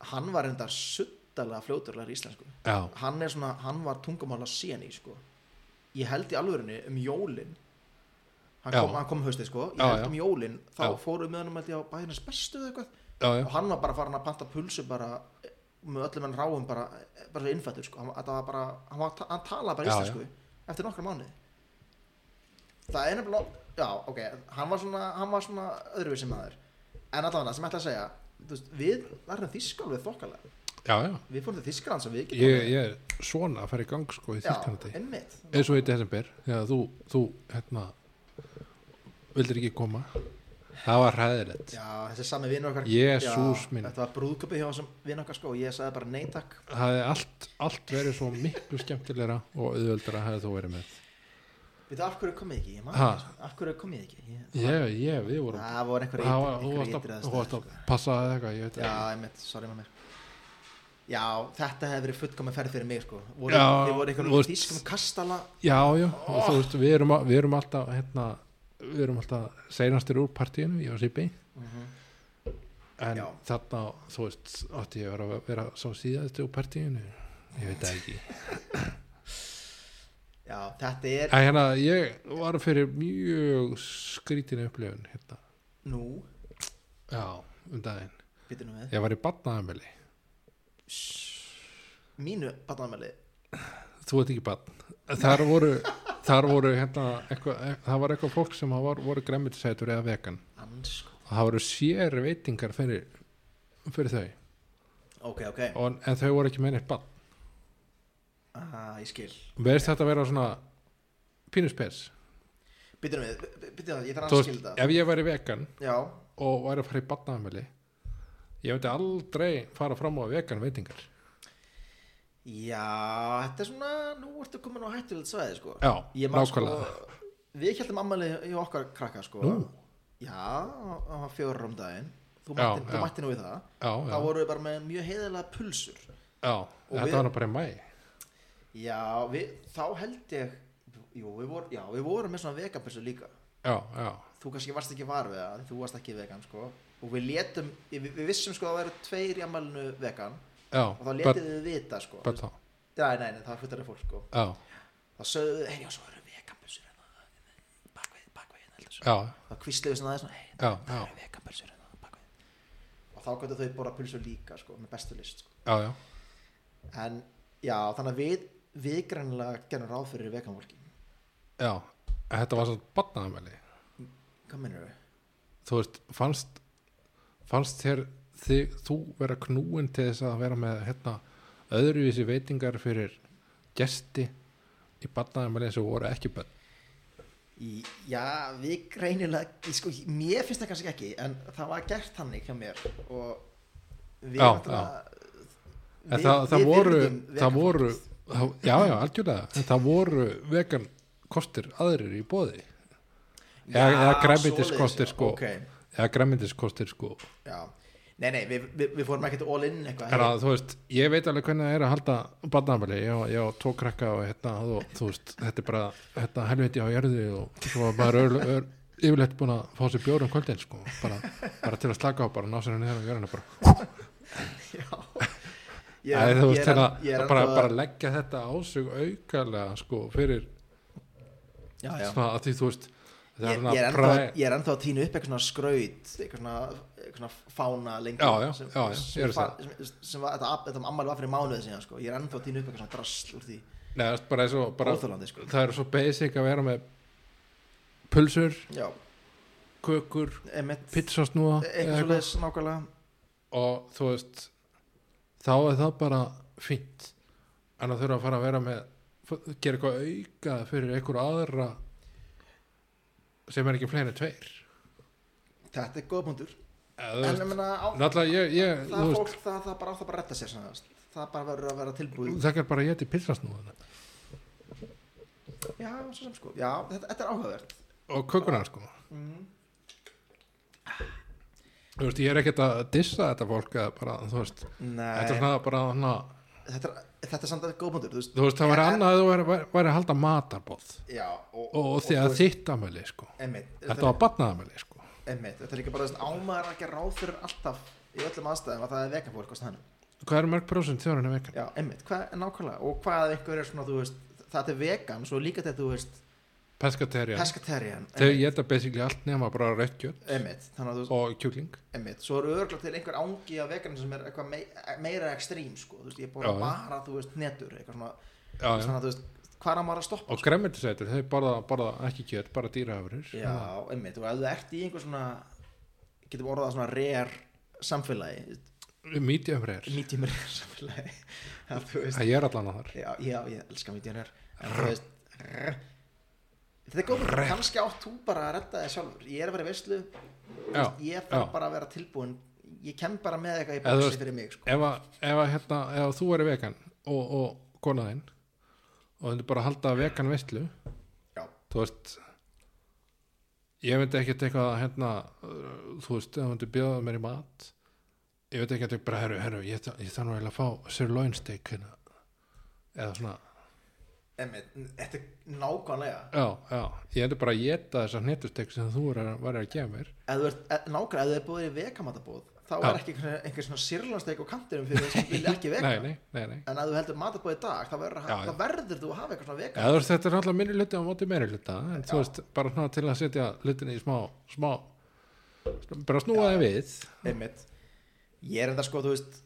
Speaker 2: hann var enda suttalega fljóturlega í íslensku
Speaker 1: já,
Speaker 2: hann er svona, hann var tungumála síni sko. ég held í alvörunni um jólin hann
Speaker 1: Já.
Speaker 2: kom, hann kom haustið sko ég
Speaker 1: Já,
Speaker 2: held
Speaker 1: já.
Speaker 2: um jólin, þá
Speaker 1: Já.
Speaker 2: fórum við hann held ég á bæðinans bestu eða eitthvað
Speaker 1: já, já,
Speaker 2: og hann var bara farin að panta pulsu bara eh, með öllum hann ráum bara, eh, bara innfættur sko, hann, þetta var bara, hann, var, ta- hann talaði bara
Speaker 1: Já,
Speaker 2: íslensku eftir nokkra mánuði það er nefnilega já, ok, hann var svona, hann var svona öðruvísi maður, en allavega sem ég ætla að segja, þú veist, við verðum þýskal við þokkalega,
Speaker 1: já, já
Speaker 2: við fórum til Þýskaland sem við getum
Speaker 1: ég, ég er svona að fara í gang sko í Þýskalandi
Speaker 2: já, einmitt,
Speaker 1: eins og í desember þegar þú, þú hérna vildir ekki koma það var hræðilegt
Speaker 2: já, þessi sami vinur okkar
Speaker 1: Jesús
Speaker 2: Já,
Speaker 1: minn.
Speaker 2: þetta var brúðköpi hjá þessum vinur okkar sko, og ég sagði bara neytak
Speaker 1: það hefði allt, allt verið svo miklu skemmtilegra og auðveldara hefði þú verið með
Speaker 2: við það af hverju komið ekki, ég
Speaker 1: Ha.
Speaker 2: maður af hverju komið ekki ég,
Speaker 1: ég, ég, við vorum
Speaker 2: það voru einhverja
Speaker 1: það var,
Speaker 2: ytri-
Speaker 1: þú
Speaker 2: einhverjar
Speaker 1: varst
Speaker 2: ytri
Speaker 1: að, þú
Speaker 2: aðstæður,
Speaker 1: varst
Speaker 2: sko.
Speaker 1: að passa að eitthvað ég veit
Speaker 2: Já,
Speaker 1: ekki.
Speaker 2: einmitt, sorry maður Já, þetta hefði verið fullkomin ferð fyrir mig sko. voru,
Speaker 1: Já,
Speaker 2: Þið voru
Speaker 1: þú
Speaker 2: einhverjum
Speaker 1: veist-
Speaker 2: þýskum kastala
Speaker 1: já, já, og þú veist við erum, að- við erum alltaf hérna, við erum alltaf seinastir úr partíinu, ég og Sipi Mhm. en
Speaker 2: Já.
Speaker 1: þarna, þú veist átti ég að vera, vera sá síðast úr partíinu ég veit það ekki
Speaker 2: Já, þetta er
Speaker 1: Æ, hérna, ég var fyrir mjög skrítin upplifun hérna.
Speaker 2: nú
Speaker 1: Já, um daginn.
Speaker 2: Býtum við
Speaker 1: Ég var í batnaðamili.
Speaker 2: Mínu batnaðamæli
Speaker 1: Þú veit ekki batn. Þar voru, þar voru hérna, eitthva, það var eitthvað fólk sem var, voru gremmitisætur eða vegan.
Speaker 2: Ansko
Speaker 1: Og það voru sér veitingar fyrir, fyrir þau.
Speaker 2: Ok, ok
Speaker 1: Og, en þau voru ekki með neitt batn.
Speaker 2: ah, Ég skil
Speaker 1: Verðist þetta vera svona pínuspes.
Speaker 2: Býtum við, býtum við, ég þarf
Speaker 1: Þú
Speaker 2: að
Speaker 1: veist,
Speaker 2: skilja það
Speaker 1: ef ég væri vegan
Speaker 2: Já,
Speaker 1: og væri að fara í batnaðamili, ég myndi aldrei fara fram á vegan veitingar.
Speaker 2: já, þetta er svona Nú ertu komin á hættulegt svæði sko
Speaker 1: Já,
Speaker 2: Ég man sko
Speaker 1: nákvæmlega.
Speaker 2: Við heldum ammæli í okkar krakka sko
Speaker 1: Nú?
Speaker 2: Já, það var fjórar um daginn Þú
Speaker 1: Já,
Speaker 2: mætti, þú
Speaker 1: já.
Speaker 2: mætti nú í það
Speaker 1: Já, já.
Speaker 2: þá voru við bara með mjög heiðalega pulsur
Speaker 1: Já, þetta
Speaker 2: við-
Speaker 1: var nú bara í mæ
Speaker 2: já, við, þá held ég jú, við voru, já, við vorum með svona vegapulsur líka
Speaker 1: Já, já,
Speaker 2: þú kannski varst ekki var við það, en þú varst ekki vegan sko. og við letum, við, við vissum sko að það væru tveir í ammælinu vegan
Speaker 1: já
Speaker 2: og þá
Speaker 1: but,
Speaker 2: letið við vita sko.
Speaker 1: but þá,
Speaker 2: já, nei, nei, það fullari fólk sko.
Speaker 1: já,
Speaker 2: þá sögðu við, hérna, hei, já, svo eru vegapulsur bakvið, bakvið, heldur svo
Speaker 1: já,
Speaker 2: þá kvísluðu svona aðeins, hei,
Speaker 1: já, já,
Speaker 2: það eru vegapulsur bakvið hérna, og þá gætu þau borða pulsur líka sko, með bestu list sko.
Speaker 1: já, já,
Speaker 2: en já, þannig að við við greinlega gerum ráð fyrir veganvolki
Speaker 1: já. En Þetta var svo batnaðamæli
Speaker 2: hvað minnur við?
Speaker 1: Þú veist, fannst fannst þér þig, þú vera knúin til þess að vera með hérna, öðruvísi veitingar fyrir gesti í batnaðamæli sem voru ekki bönn
Speaker 2: Í, já, við greinilega í, sko, mér finnst það kannski ekki en það var gert þannig hjá mér og við
Speaker 1: Já,
Speaker 2: náttúrulega-
Speaker 1: En það, það voru,
Speaker 2: virðum
Speaker 1: það
Speaker 2: vegan
Speaker 1: voru
Speaker 2: fólk.
Speaker 1: það, Já, já, algjörlega En það voru vegan kostir aðrir í bóði
Speaker 2: Já,
Speaker 1: eða- eða grænmetiskostir,
Speaker 2: svoleiðis,
Speaker 1: sko.
Speaker 2: ok,
Speaker 1: eða græmyndiskostir sko
Speaker 2: já. nei, nei, við, við, við fórum ekkert all in eitthvað
Speaker 1: Þannig að þú veist, ég veit alveg hvernig það er að halda barnafæli, ég, á- ég á tvo krakka og hérna, þú, þú veist, þetta er bara hérna helviti á jörðu og svo var bara öll, öll, yfirleitt búin að fá sér bjór um kvöldin sko, bara, bara til að slaka á bara ná sér henni þegar á jörðina bara
Speaker 2: já, Ég
Speaker 1: Æ,
Speaker 2: er-
Speaker 1: þú
Speaker 2: ég
Speaker 1: veist
Speaker 2: er-
Speaker 1: hérna,
Speaker 2: ég er
Speaker 1: bara,
Speaker 2: ennþá-
Speaker 1: bara leggja þetta á sig aukarlega sko fyrir
Speaker 2: Já, já.
Speaker 1: svona að því þú veist það er
Speaker 2: Ég, ég, er
Speaker 1: svona
Speaker 2: ennþá,
Speaker 1: præ
Speaker 2: ég er ennþá að tína upp eitthvað svona skraut eitthvað svona, eitthvað svona fána lengi
Speaker 1: Já, já,
Speaker 2: sem,
Speaker 1: já, já, ég er
Speaker 2: sem,
Speaker 1: að
Speaker 2: fa- sem, sem var, þetta, þetta ammali var fyrir mánuði síðan sko. ég er ennþá að tína upp eitthvað svona drasl úr því
Speaker 1: Nei, það er bara svo, bara,
Speaker 2: óþjólandi sko.
Speaker 1: það er svo basic að vera með pulsur,
Speaker 2: já,
Speaker 1: kökur
Speaker 2: emitt
Speaker 1: pizzasnúða eða
Speaker 2: eitthvað svo leðis nákvæmlega
Speaker 1: og þú veist þá er það bara fínt en að þurfa að fara að vera með gera eitthvað auka fyrir einhver aðra sem er ekki fleiri en tveir
Speaker 2: þetta er góða punktur
Speaker 1: eða, þú
Speaker 2: en
Speaker 1: veist,
Speaker 2: ég meina, á,
Speaker 1: náttúrulega ég, ég
Speaker 2: það
Speaker 1: þú
Speaker 2: er
Speaker 1: veist,
Speaker 2: fólk það, það bara á það bara að retta sér svona, þú veist. það bara verður að vera tilbúið
Speaker 1: það er bara að geta pilsasnúðan
Speaker 2: já, svo sem sko, já, þetta, þetta er áhugavert
Speaker 1: og kökunar sko
Speaker 2: mm.
Speaker 1: þú veist, ég er ekkert að dissa þetta fólk eða bara, þú veist, þetta er
Speaker 2: nei,
Speaker 1: svona bara hana,
Speaker 2: þetta er, þetta er samt að góða punktur þú veist,
Speaker 1: þú veist, það væri
Speaker 2: Ég-
Speaker 1: annað að þú væri, væri- væri að halda matarboð
Speaker 2: já, og,
Speaker 1: og, og því
Speaker 2: þú
Speaker 1: að
Speaker 2: veist,
Speaker 1: þitt amæli sko,
Speaker 2: einmitt,
Speaker 1: þetta var batnaðamæli sko
Speaker 2: Einmitt, þetta er líka bara þess að ámaður að gera ráð fyrir alltaf í öllum aðstæðum að það er vegan fólk á staðnum.
Speaker 1: hvað eru mörg prósent þjóðurinn er vegan?
Speaker 2: Já, einmitt, hvað er nákvæmlega og hvað ef einhver er svona, þú veist, það er vegan svo líka þetta, þú veist,
Speaker 1: Pescaterian
Speaker 2: pescatarian
Speaker 1: Þau geta basically allt nema bara rautt kjöt
Speaker 2: einmitt, þannig að þú veist,
Speaker 1: og kjúkling
Speaker 2: einmitt, svo eru örgla til einhver ángi af vegan sem er eitthvað mei, meira ekstrím, sko, þú veist, ég er búin
Speaker 1: Já,
Speaker 2: að
Speaker 1: já.
Speaker 2: bara, þú veist, netur, eitthvað svona,
Speaker 1: já, já.
Speaker 2: þannig að þú veist, hvað er að maður að stoppa?
Speaker 1: og gremmetisætur, þau borða, borða ekki kjöt bara Ah, dýraafurur
Speaker 2: Já, einmitt, og ef þú ert í einhver svona, getum orðað það svona rare samfélagi,
Speaker 1: mítjöfreyr,
Speaker 2: medium rare samfélagi, að þú veist,
Speaker 1: það ég er allan að þar
Speaker 2: já, já, ég elska mídjanur en þú veist rr. þetta er góð, kannski átt þú bara að redda þig sjálfur, ég er að vera í veislu
Speaker 1: Já,
Speaker 2: ég þarf
Speaker 1: já.
Speaker 2: bara að vera tilbúin ég kem bara með eitthvað í
Speaker 1: Eða þú
Speaker 2: bóksi
Speaker 1: veist-
Speaker 2: fyrir mig sko.
Speaker 1: ef, að, ef, að, hérna, ef að þú eru vegan og, og konaðinn og þú bara að halda vegan veistlu
Speaker 2: já,
Speaker 1: þú veist ég veit ekki eitthvað að hérna uh, þú veist, ef þú myndir bjóða mér í mat ég veit ekki að bara herru, herru ég, þa- ég þarf nú eiginlega að fá sirloin steak hérna. eða svona
Speaker 2: emmi, þetta er nákvæmlega
Speaker 1: Já, já, ég endur bara að geta þessar hnetustek sem þú er, var að gefa mér
Speaker 2: ef þú ert, e- nákvæmlega, ef þú er búið í vegamatabóð þá
Speaker 1: Já.
Speaker 2: er ekki einhver, einhver svona sirlansteik á kantinum fyrir þess að vilja ekki vega
Speaker 1: Nei, nei, nei, nei
Speaker 2: en ef þú heldur matabóð í dag þá verður,
Speaker 1: Já, já.
Speaker 2: þá verður þú að hafa eitthvað svona vegan
Speaker 1: Eða, þú veist, Þetta er alltaf minni hluti á móti meiri hluta en þú veist, bara svona til að setja hlutinni í smá, smá bara snúa þeim við
Speaker 2: einmitt ég er enda sko, þú veist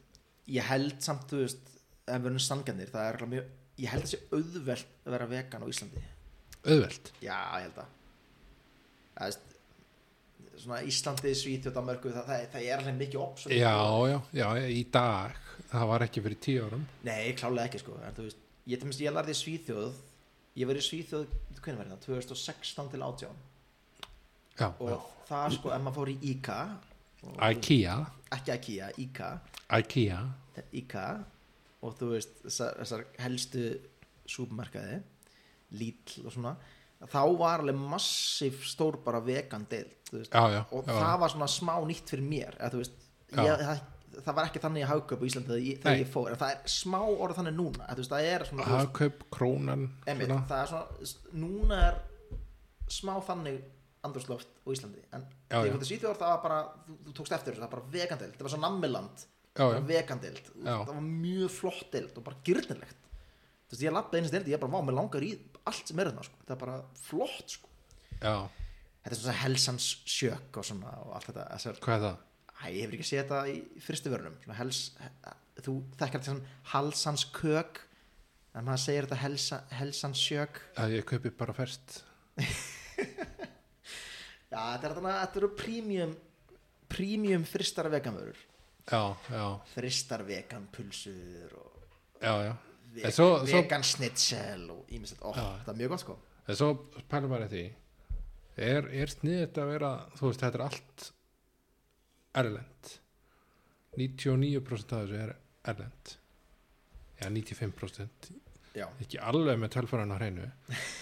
Speaker 2: ég held samt, þú veist, ef við erum sanganir það er örugglega mjög, ég held þessi auðvelt að vera vegan á Íslandi
Speaker 1: auðvelt
Speaker 2: já, ég held að það veist svona Íslandi, Svíþjóð, Danmarku það, það, það er alveg mikið opp
Speaker 1: Já, já, já, í dag það var ekki fyrir tíu árum
Speaker 2: nei, klálega ekki sko, en þú veist ég, tjumst, ég lærði í Svíþjóð ég var í Svíþjóð, hvernig var það, 2016 til 18
Speaker 1: Já,
Speaker 2: og
Speaker 1: já.
Speaker 2: það sko, ef maður fór í IKA og-
Speaker 1: IKEA
Speaker 2: ekki IKEA, IKA
Speaker 1: IKEA
Speaker 2: IKA og þú veist þessar, þessar helstu súpmarkaði Lidl og svona þá var alveg massíf stór bara vegan deild þú veist.
Speaker 1: Já, já,
Speaker 2: og
Speaker 1: já,
Speaker 2: það var svona smá nýtt fyrir mér eða, þú veist,
Speaker 1: Já.
Speaker 2: ég, það, það var ekki þannig að hauka upp á Íslandi þegar ég, þegar
Speaker 1: Nei.
Speaker 2: ég fór en það er smá orð þannig núna eða, þú veist, það er svona, þú veist,
Speaker 1: Hagkaup, krónan
Speaker 2: emitt,
Speaker 1: svona.
Speaker 2: það er svona núna er smá þannig andrúsloft á Íslandi en
Speaker 1: Já, já.
Speaker 2: þegar ég fór til Svíþjóðar það var bara, þú, þú tókst eftir þessu, það var bara vegan deild það var svo nammiland
Speaker 1: Já, já,
Speaker 2: vegandild,
Speaker 1: Já.
Speaker 2: það var mjög flott dild og bara gyrnilegt þú veist, ég lappaði einu stildi, ég bara, vá, mér langar í allt sem er þarna, sko, það er bara flott sko.
Speaker 1: já,
Speaker 2: þetta er svona helsans sjök og svona og allt þetta, þessar,
Speaker 1: hvað er það?
Speaker 2: æ, ég hefur ekki séð þetta í fyrstu vörunum, svona hels he- þú þekkar þetta sem halsans kök en maður segir þetta helsa, helsans sjök
Speaker 1: Að ég kaupi bara fest
Speaker 2: já, þetta er þarna, þetta eru premium premium fristar veganvörur
Speaker 1: Já, já,
Speaker 2: fristar veganpulsur og
Speaker 1: já, já En
Speaker 2: vegan,
Speaker 1: svo- svo-
Speaker 2: vegan snitsel og ímislegt, ó,
Speaker 1: Já.
Speaker 2: þetta er mjög gott sko
Speaker 1: En svo pælum maður í því er, er sniðið að vera þú veist, þetta er allt erlend 99% af þessu er erlend já, 95%
Speaker 2: Já,
Speaker 1: ekki alveg með tölfæran á hreinu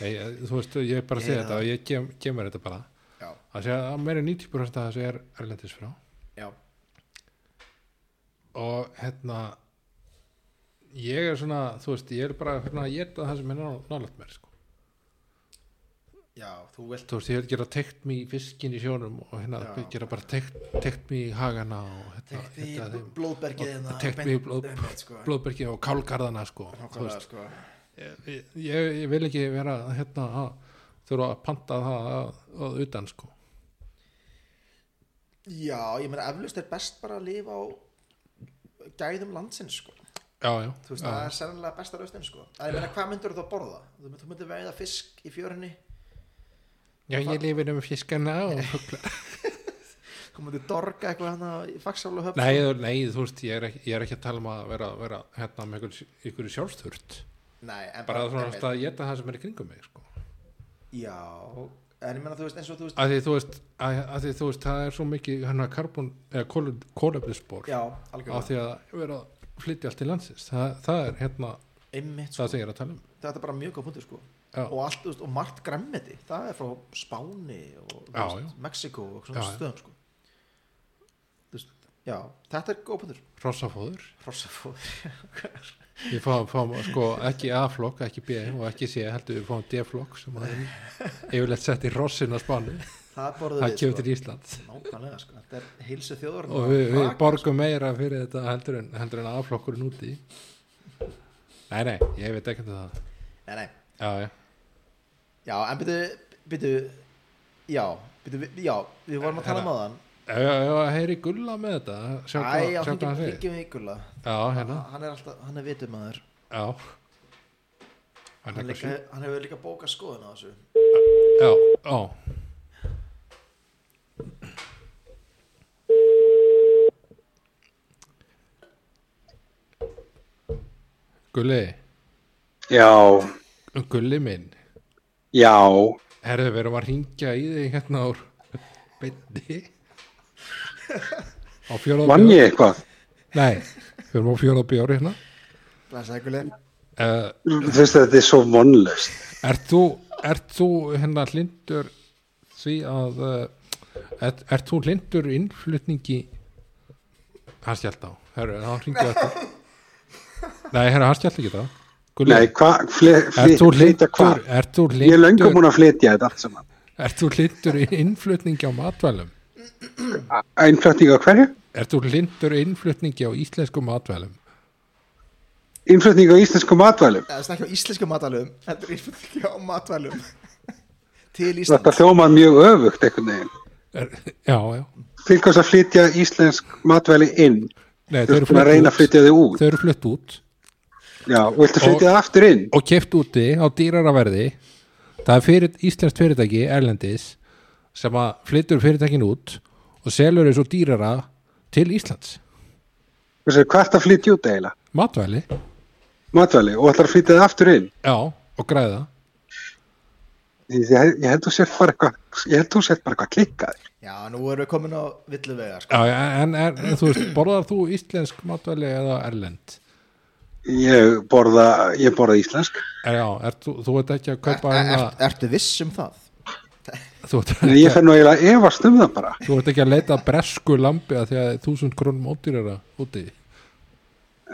Speaker 1: Nei, ég- þú veist, ég er bara að
Speaker 2: Ég
Speaker 1: segja
Speaker 2: er
Speaker 1: þetta og ég kem- kemur þetta bara
Speaker 2: já,
Speaker 1: að segja að meira en 90% af þessu er erlendis frá
Speaker 2: já,
Speaker 1: og hérna ég er svona, þú veist, ég er bara hérna, ég er það sem er nálægt mér sko.
Speaker 2: já, þú vilt
Speaker 1: þú veist, ég vil gera tekt mig í fiskin í sjónum og hérna
Speaker 2: Já.
Speaker 1: gera bara tekt, tekt mig í hagana og hérna,
Speaker 2: tekt í
Speaker 1: hérna þeim
Speaker 2: blóðbergið hérna,
Speaker 1: tekt
Speaker 2: beint-
Speaker 1: mig í blóð-
Speaker 2: einmitt, sko.
Speaker 1: blóðbergi og kálgarðana sko, þú
Speaker 2: Nákvæmlega,
Speaker 1: veist,
Speaker 2: sko.
Speaker 1: ég, ég ég vil ekki vera hérna að þurfa að panta það að, að utan sko
Speaker 2: já, ég meina eflust er best bara að lifa á gæðum landsins sko.
Speaker 1: já, já,
Speaker 2: þú veist,
Speaker 1: já,
Speaker 2: það er sennilega besta lausnin sko. að ég meina, hvað myndur þú að borða? þú myndur, þú myndur veiða fisk í fjörinni
Speaker 1: já, ég lifir um fiskana og fugla
Speaker 2: þú myndur dorga eitthvað hana í fagsálu höfn
Speaker 1: nei, þú- nei, þú veist, ég er, ekki, ég er ekki að tala um að vera, vera hérna með ykkur, ykkur sjálfsþurft
Speaker 2: Nei, en
Speaker 1: bara svona
Speaker 2: einmitt.
Speaker 1: að geta það sem er í kringum mig sko
Speaker 2: já, en ég meina, þú veist, eins og þú veist
Speaker 1: að því þú veist, að, að því, þú veist það er svo mikið hérna karbon eða kólefnisbor
Speaker 2: já,
Speaker 1: á
Speaker 2: algjörlega,
Speaker 1: því að vera að flytja allt til landsins það, það er hérna
Speaker 2: einmitt sko.
Speaker 1: það sem ég er að tala um
Speaker 2: þetta er bara mjög góð punktur sko
Speaker 1: Já.
Speaker 2: og, allt, þú veist, og margt græmmeti, það er frá Spáni og þú
Speaker 1: Já,
Speaker 2: veist, Mexiko og svona
Speaker 1: Já, já.
Speaker 2: stöðum sko Þú veist, já, þetta er góð punktur
Speaker 1: rossafóður
Speaker 2: Hrossafóður,
Speaker 1: við fáum, fáum sko ekki A-flokk, ekki B og ekki C, heldur við fáum D-flokk sem að er yfirleitt sett í rossin á Spáni
Speaker 2: það borðum
Speaker 1: það kemur
Speaker 2: við
Speaker 1: til Ísland
Speaker 2: sko. nákvæmlega sko, þetta er heilsu þjóður
Speaker 1: og við, við
Speaker 2: sko.
Speaker 1: borgum meira fyrir þetta heldur en, heldur en A-flokkurinn úti nei, nei, ég veit ekki um það
Speaker 2: nei, nei.
Speaker 1: já, já,
Speaker 2: já, en byrju, byrju já, byrju, já, við vorum að tala um aðan
Speaker 1: já, já, já heyri gulla með þetta Hérna, sjá
Speaker 2: æ,
Speaker 1: hvað
Speaker 2: já,
Speaker 1: sjá hvað
Speaker 2: hringjum
Speaker 1: hann segir
Speaker 2: hringjum í Gulla
Speaker 1: já, hérna
Speaker 2: hann er alltaf, hann er vitum aður
Speaker 1: Já Hann
Speaker 2: hann,
Speaker 1: er
Speaker 2: líka-
Speaker 1: eitthvað
Speaker 2: hann hefur líka bókað skoðun á þessu
Speaker 1: sjö Já, já Gulli
Speaker 3: Já,
Speaker 1: Gulli minn
Speaker 3: já,
Speaker 1: Herðu, við erum að ringja í þig hérna úr beinni Á fjóra
Speaker 3: vann ég eitthvað?
Speaker 1: Nei, við erum á fjóra bjóri hérna
Speaker 2: blæsaði Gulli
Speaker 1: uh,
Speaker 3: Þú veist að þetta er svo vonlust.
Speaker 1: Ert þú, ert þú hérna hlindur því að uh, ert, ert þú hlindur innflutningi hann skjált á herru, hann hringið eftir nei, herru, hann skjált ekki það Gulli,
Speaker 3: Nei, hvað,
Speaker 1: ert þú
Speaker 3: flytja
Speaker 1: hlindur
Speaker 3: hvað?
Speaker 1: ert þú
Speaker 3: Ég er löngum
Speaker 1: hlindur,
Speaker 3: búin að flytja þetta allt saman.
Speaker 1: ert þú hlindur innflutningi á matvælum
Speaker 3: Einflutning á hverju?
Speaker 1: ert þú hlindur innflutningi á íslenskum matvælum
Speaker 3: Einflutning á íslensku matvælum.
Speaker 2: Það er ekki á íslensku matvælum Þetta er íslensku á matvælum Til
Speaker 3: Þetta
Speaker 2: Íslands
Speaker 3: hljómar mjög öfugt einhvern veginn.
Speaker 1: er, já, já
Speaker 3: Til hvers að flytja íslensk matvæli inn?
Speaker 1: nei,
Speaker 3: Þú ert búin að reyna að flytja þið út.
Speaker 1: þau eru flutt út
Speaker 3: Já, og viltu flytja það aftur inn?
Speaker 1: og keft úti á dýrara verði það er fyrir, íslenskt fyrirtæki erlendis sem að flyttur fyrirtækin út og selur þessu dýrara til Íslands
Speaker 3: Þú veist, hvað ertu að flytja út eiginlega?
Speaker 1: matvæli,
Speaker 3: Matvæli, og ætlar að flytja það aftur inn?
Speaker 1: já, og græða
Speaker 3: Ég, ég held þú sért bara eitthvað, ég held þú sért bara eitthvað klikkaður.
Speaker 2: Já, nú erum við komin á villu vegar sko.
Speaker 1: já, en, en, en þú veist, borðar þú íslensk matvæli eða erlend
Speaker 3: Ég borða, ég borða íslensk.
Speaker 1: er, Eh, já, er, þú, þú ert ekki að kaupa
Speaker 2: er,
Speaker 1: hérna,
Speaker 2: er, Ertu viss um það?
Speaker 1: þú, ert
Speaker 3: Eh, Nei,
Speaker 1: ekki,
Speaker 3: ég fer nú eiginlega að efast um það bara.
Speaker 1: þú ert ekki að leita að bresku lambi að því að þúsund krónum ódýrara úti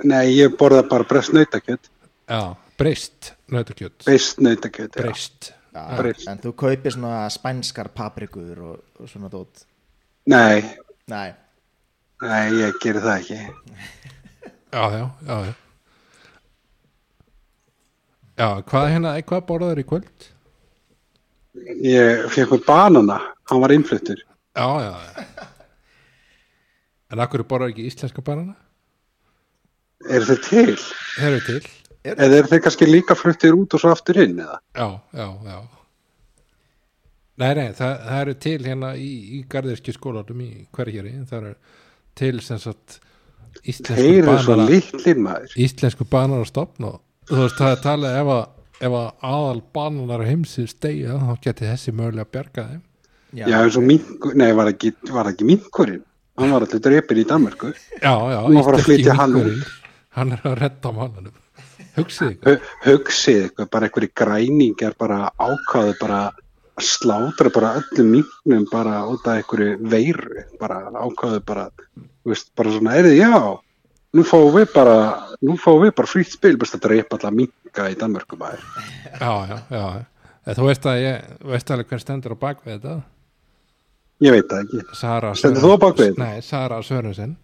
Speaker 3: Nei, ég borða bara breyst nautakjöt.
Speaker 1: já, breyst, nautakjöt
Speaker 3: Breyst nautakjöt, já.
Speaker 1: breyst,
Speaker 3: Breyst.
Speaker 2: En þú kaupir svona spænskar paprikur og, og svona dót
Speaker 3: Nei,
Speaker 2: Nei,
Speaker 3: nei, ég geri það ekki.
Speaker 1: já, já, já, já. Já, hvað hérna, hvað borðar í kvöld?
Speaker 3: Ég fekk með banana, hann var innfluttur.
Speaker 1: Já, já, já. En akkur borðar ekki íslenska banana?
Speaker 3: Er þeir til?
Speaker 1: Þeir eru til.
Speaker 3: Eða er þeir kannski líka fluttir út og svo aftur inn, eða?
Speaker 1: Já, já, já. Nei, nei, það, það eru til hérna í, í garðirski skólanum í hverjari. Það eru til sem sagt íslensku
Speaker 3: Þeir eru svo
Speaker 1: banana,
Speaker 3: litlir maður.
Speaker 1: íslensku banana stopn og þú veist, það er talað ef að, ef að aðal bananar heimsins deyja, þá geti þessi mögulega að bjarga þeim.
Speaker 2: já,
Speaker 3: Já, eins og minkur, nei, var ekki, var ekki minkurinn. Hann var alltaf drepin í Danmarku.
Speaker 1: já, já,
Speaker 3: Nú að fara að
Speaker 1: íslenski
Speaker 3: flytja hann
Speaker 1: minkurinn. hann er að redda mannanum hugsið ykkur
Speaker 3: Hu- Hugsið eitthvað, bara einhverju græningar bara ákvaðu bara að slátra bara öllum minknum bara út af einhverju veiru, bara ákvaðu bara, þú veist, bara svona, er þið, já, nú fáum við bara, nú fáum við bara frýtt spil, bara að drepa alla minka í Danmörku maður.
Speaker 1: já, já, já, Eða Þú veist að ég, veist alveg hver stendur á bakvið þetta
Speaker 3: ég veit það ekki
Speaker 1: Sara
Speaker 3: Stendur þú á bak við þetta?
Speaker 1: Nei, Sara Sörensen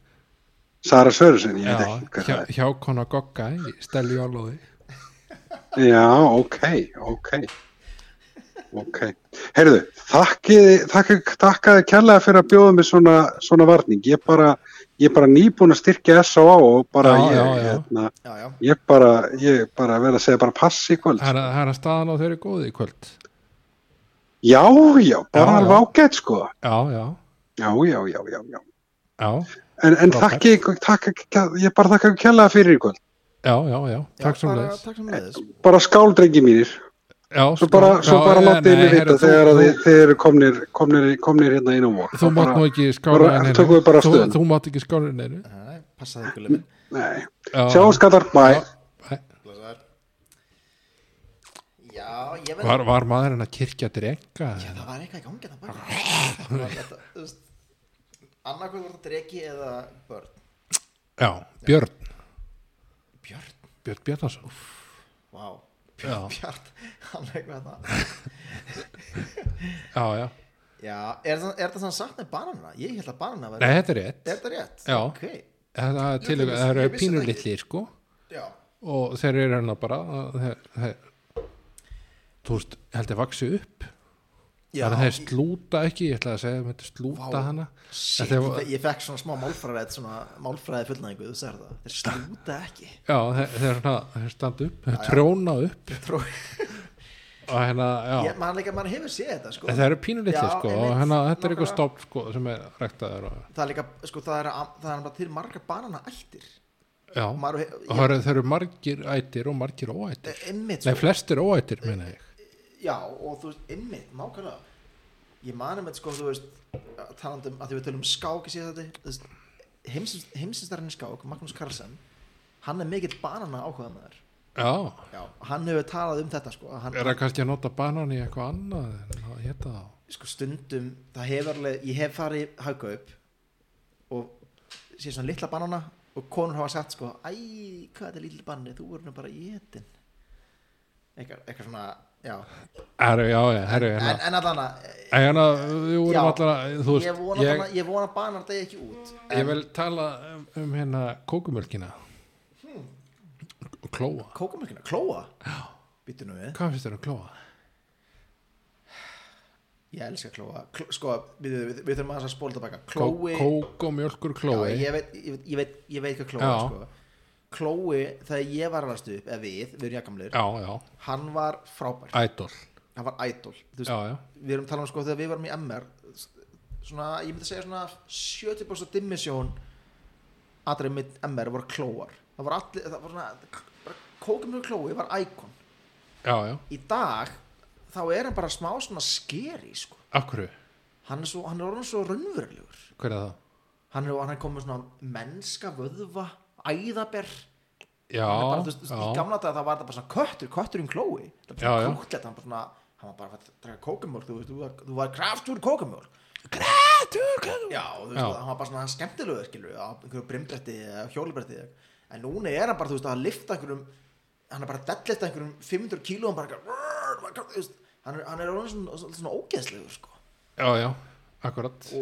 Speaker 3: Sara Sörursen, ég
Speaker 1: Já,
Speaker 3: veit ekki hvað
Speaker 1: hjá,
Speaker 3: það
Speaker 1: hjá kona Gogga í Stelju Álóði
Speaker 3: er já, ok, ok ok heyrðu, þakkiði þakki- þakkaði kærlega fyrir að bjóða mig svona, svona varning, ég bara ég bara nýbúin að styrkja S.O.A. og bara
Speaker 1: Já,
Speaker 3: ég,
Speaker 1: já, já.
Speaker 3: Hérna,
Speaker 2: já, já,
Speaker 3: ég bara, ég bara verð að segja bara pass í kvöld
Speaker 1: Það er að- það er að staðan á þeirri góði í kvöld
Speaker 3: já, já, bara
Speaker 1: Já, já.
Speaker 3: alveg ágætt sko
Speaker 1: Já, já,
Speaker 3: já, já, já, já, já
Speaker 1: já,
Speaker 3: en, en
Speaker 1: Frábært.
Speaker 3: þakki, ykkur- þakka, ég bara þakka ykkur kærlega fyrir í kvöld
Speaker 1: já, já, já Takk
Speaker 2: já,
Speaker 1: svo
Speaker 2: bara-
Speaker 1: leðis
Speaker 2: takk sem leiðis
Speaker 3: bara skál drengi mínir svo
Speaker 1: sko.
Speaker 3: bara, svo bara látið mig vita þegar að þið, þið eru komnir, komnir, komnir hérna inn á vor
Speaker 1: Þú mátt nú ekki skára
Speaker 3: bara- tökum við bara
Speaker 1: Þú,
Speaker 3: afstöðuna.
Speaker 1: þú mátt ekki skára henni
Speaker 2: Nei, passaði ykkur lemmin
Speaker 3: nei, sjáum skattar, bye
Speaker 2: já, ég verð
Speaker 1: Var, var maðurinn að kirkja drenga?
Speaker 2: Já, það var eitthvað í gangi það bara annarkvæð var það dregi eða börn
Speaker 1: Já, Björn
Speaker 2: Björn,
Speaker 1: Björn Bjarnason
Speaker 2: vá
Speaker 1: Já.
Speaker 2: Björn, Björn, hann er eitthvað það
Speaker 1: Já, já
Speaker 2: Já, er það, er það sann sagt með bananina? Ég held að bananina væri
Speaker 1: Nei, þetta er rétt
Speaker 2: Er það rétt?
Speaker 1: Já.
Speaker 2: Ok,
Speaker 1: Það er til-
Speaker 2: Ég vissi-
Speaker 1: það eru
Speaker 2: ég vissi það ekki.
Speaker 1: pínulitlir sko
Speaker 2: já
Speaker 1: og þeir eru hérna bara þeir, þeir, þú veist, held ég vaksi upp
Speaker 2: Já,
Speaker 1: þannig að þeir slúta ekki, ég ætla að segja þetta slúta
Speaker 2: Vá.
Speaker 1: hana
Speaker 2: shit,
Speaker 1: Þetta var-
Speaker 2: ég, ég fekk svona smá málfræðið svona málfræðið fullnæðingu, þú sér það Þeir slúta ekki
Speaker 1: já, þeir, þeir, svona, þeir standa upp, þeir tróna upp
Speaker 2: Tró,
Speaker 1: og hérna, já,
Speaker 2: ég, man, leika, man hefur séð þetta sko
Speaker 1: En þeir eru pínulitlir
Speaker 2: Já,
Speaker 1: sko
Speaker 2: einmitt,
Speaker 1: og hérna, þetta er
Speaker 2: nákvæmlega.
Speaker 1: eitthvað stofn sko sem er ræktaður og,
Speaker 2: Það er líka, sko, það er, það er bara til margar banana ættir
Speaker 1: já,
Speaker 2: Og
Speaker 1: og
Speaker 2: maður, ég,
Speaker 1: það eru, þeir eru margir ættir og margir óættir,
Speaker 2: einmitt,
Speaker 1: nei, flestir óættir meina ég,
Speaker 2: Já, og þú veist, einmitt, nákvæmlega Ég mani með, sko, þú veist talandum að því við tölum um skák í síðan þetta heimsinstarinn í skák, Magnús Carlsen hann er mikill banana áhugað með þær
Speaker 1: já
Speaker 2: Já, hann hefur talað um þetta, sko að hann,
Speaker 1: er það kannski að nota banan í eitthvað annað en að hétta þá
Speaker 2: sko, stundum, það hefur alveg ég hef farið í hagkaup og sé svona litla banana og konur hafa sagt, sko, æ, hvað er þetta lítið banni, þú voru nú bara í etin eitthvað, eitthvað svona, já
Speaker 1: Herru, já, já, herru, hérna
Speaker 2: en, en allan að
Speaker 1: En hérna, við vorum
Speaker 2: Já,
Speaker 1: allar að, þú
Speaker 2: ég
Speaker 1: veist,
Speaker 2: vona,
Speaker 1: ég,
Speaker 2: ég, ég vona að banar degi ekki út
Speaker 1: ég vil tala um, um hérna kókumölkina og klóa.
Speaker 2: kókamölkina, klóa býttu nú við,
Speaker 1: Hvað finnst þér um klóa?
Speaker 2: ég elska klóa Kl sko, við, við, við þurfum aðeins að spóla tilbaka
Speaker 1: Kó,
Speaker 2: klói,
Speaker 1: kók og mjölkur klói.
Speaker 2: Já, ég, veit, ég, veit, ég, veit, ég veit hvað klóa
Speaker 1: Já.
Speaker 2: er, sko. klói, þegar ég var alveg stuð eða við, við erum jakamlir
Speaker 1: já, já,
Speaker 2: hann var frábær,
Speaker 1: ædol.
Speaker 2: hann var idol Þú veist,
Speaker 1: Já, já,
Speaker 2: við erum talað um sko þegar við varum í MR svona, ég myndi segja svona 70% dimmisjón aðrið mitt MR voru klóar það voru allir, það voru svona kókumlu klói var íkon
Speaker 1: já, já,
Speaker 2: í dag þá er hann bara smá svona skeri sko.
Speaker 1: akkurru,
Speaker 2: hann er, svo, hann er orðin svo raunverulegur
Speaker 1: hver er það?
Speaker 2: hann er, hann er komið svona mennska vöðva æðaber
Speaker 1: Já,
Speaker 2: Hann er bara, þú veist, þú veist, í
Speaker 1: já,
Speaker 2: gamla dag það var það bara svona köttur kötturinn klói, það var
Speaker 1: Já,
Speaker 2: bara
Speaker 1: já.
Speaker 2: krútlegt hann, bara svona, hann var bara að draka kókumjólk þú veist, þú var, þú var kraftur kókumjólk kraftur kókumjólk já, og þú veist,
Speaker 1: Já.
Speaker 2: hann var bara svona skemmtilegur skilur, á einhverju brimbretti eða hjólubretti en núna er hann bara, þú veist, að lifta einhverjum hann er bara að dellista einhverjum 500 kíló, hann bara eitthvað, þú veist, hann er, hann er orðinn svona, svona, svona ógeðslegur sko.
Speaker 1: já, já, akkurat.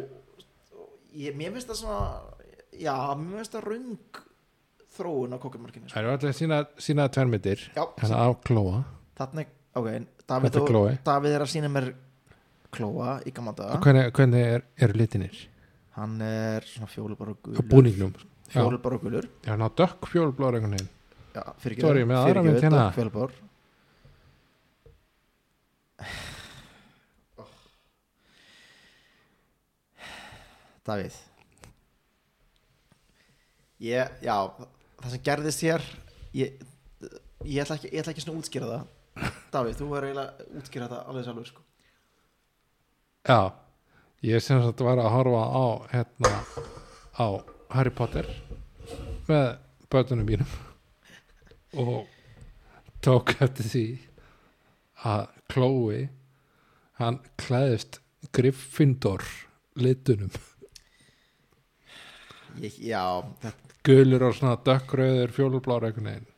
Speaker 2: ég, mér finnst það svona já, mér finnst það röng þróun á kókumjólkinni sko.
Speaker 1: Það eru allir sína, sína tvermitir,
Speaker 2: Já.
Speaker 1: hérna á klóa.
Speaker 2: Þannig, ok, Davíð,
Speaker 1: Þetta er
Speaker 2: og-
Speaker 1: Chloe.
Speaker 2: Davíð er að sína mér klóa í gamla daga
Speaker 1: Hvernig, hvernig er, eru litinir?
Speaker 2: Hann er svona fjólubar og
Speaker 1: Á
Speaker 2: gulur
Speaker 1: búningnum. Já,
Speaker 2: Fjólubar og gulur
Speaker 1: já, ná, dökk fjólblóður einhvern veginn.
Speaker 2: Já, fyrir
Speaker 1: Sorry, með aðra mynd hérna.
Speaker 2: Fjólubar Oh. Davíð Ég, já, það sem gerðist hér Ég, ég, ætla, ekki, ég ætla ekki svona að útskýra það Davíð, þú verður eiginlega að útskýra það alveg sjálfur sko
Speaker 1: Já, ég sem sagt var að horfa á hérna á Harry Potter með börnunum mínum og tók eftir því að Chloe hann klæðist Gryffindor litunum
Speaker 2: Ég, já, þetta,
Speaker 1: gulur og svona dökkröður fjólublára einhvern veginn
Speaker 2: hann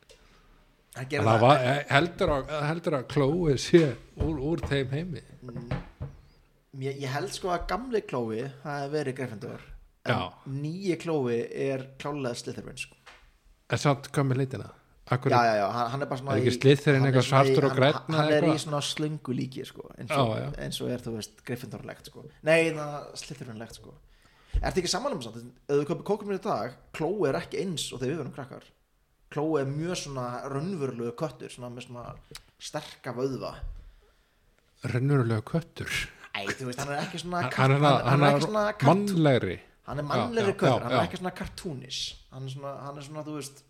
Speaker 1: En
Speaker 2: gerði
Speaker 1: það
Speaker 2: það,
Speaker 1: var, eh, heldur, að, heldur að klói sé úr, úr þeim heimi
Speaker 2: Ég, ég held sko að gamli klófi hafi verið Gryffindor en
Speaker 1: Já.
Speaker 2: nýji klófi er klálega Slytherin sko.
Speaker 1: en samt komið leitina Akkur,
Speaker 2: já, já, já, hann, hann er bara svona
Speaker 1: Er ekki
Speaker 2: í-
Speaker 1: Slytherin
Speaker 2: hann er
Speaker 1: eitthvað
Speaker 2: svona í-
Speaker 1: svartur og
Speaker 2: hann-
Speaker 1: grænn
Speaker 2: hann
Speaker 1: eða
Speaker 2: er í
Speaker 1: eitthvað?
Speaker 2: svona slöngu líki sko, eins,
Speaker 1: Já,
Speaker 2: og,
Speaker 1: já.
Speaker 2: eins og er þú veist Gryffindorlegt sko. nei, það Slytherinlegt sko. ertu ekki samanlega um samt ef þú köpir kókum í dag, klói er ekki eins og þegar við verum krakkar klói er mjög svona raunverulegu köttur svona með svona sterka vöðva
Speaker 1: rennurulega köttur
Speaker 2: Æ, þú veist, hann er ekki svona
Speaker 1: Hann- hann
Speaker 2: kart-
Speaker 1: er, hann, hann
Speaker 2: ekki svona
Speaker 1: er
Speaker 2: kart-
Speaker 1: mannlegri
Speaker 2: hann er
Speaker 1: Já,
Speaker 2: mannlegri
Speaker 1: já,
Speaker 2: köttur,
Speaker 1: já,
Speaker 2: hann er
Speaker 1: já.
Speaker 2: ekki svona kartúnis hann er svona, hann er svona, þú veist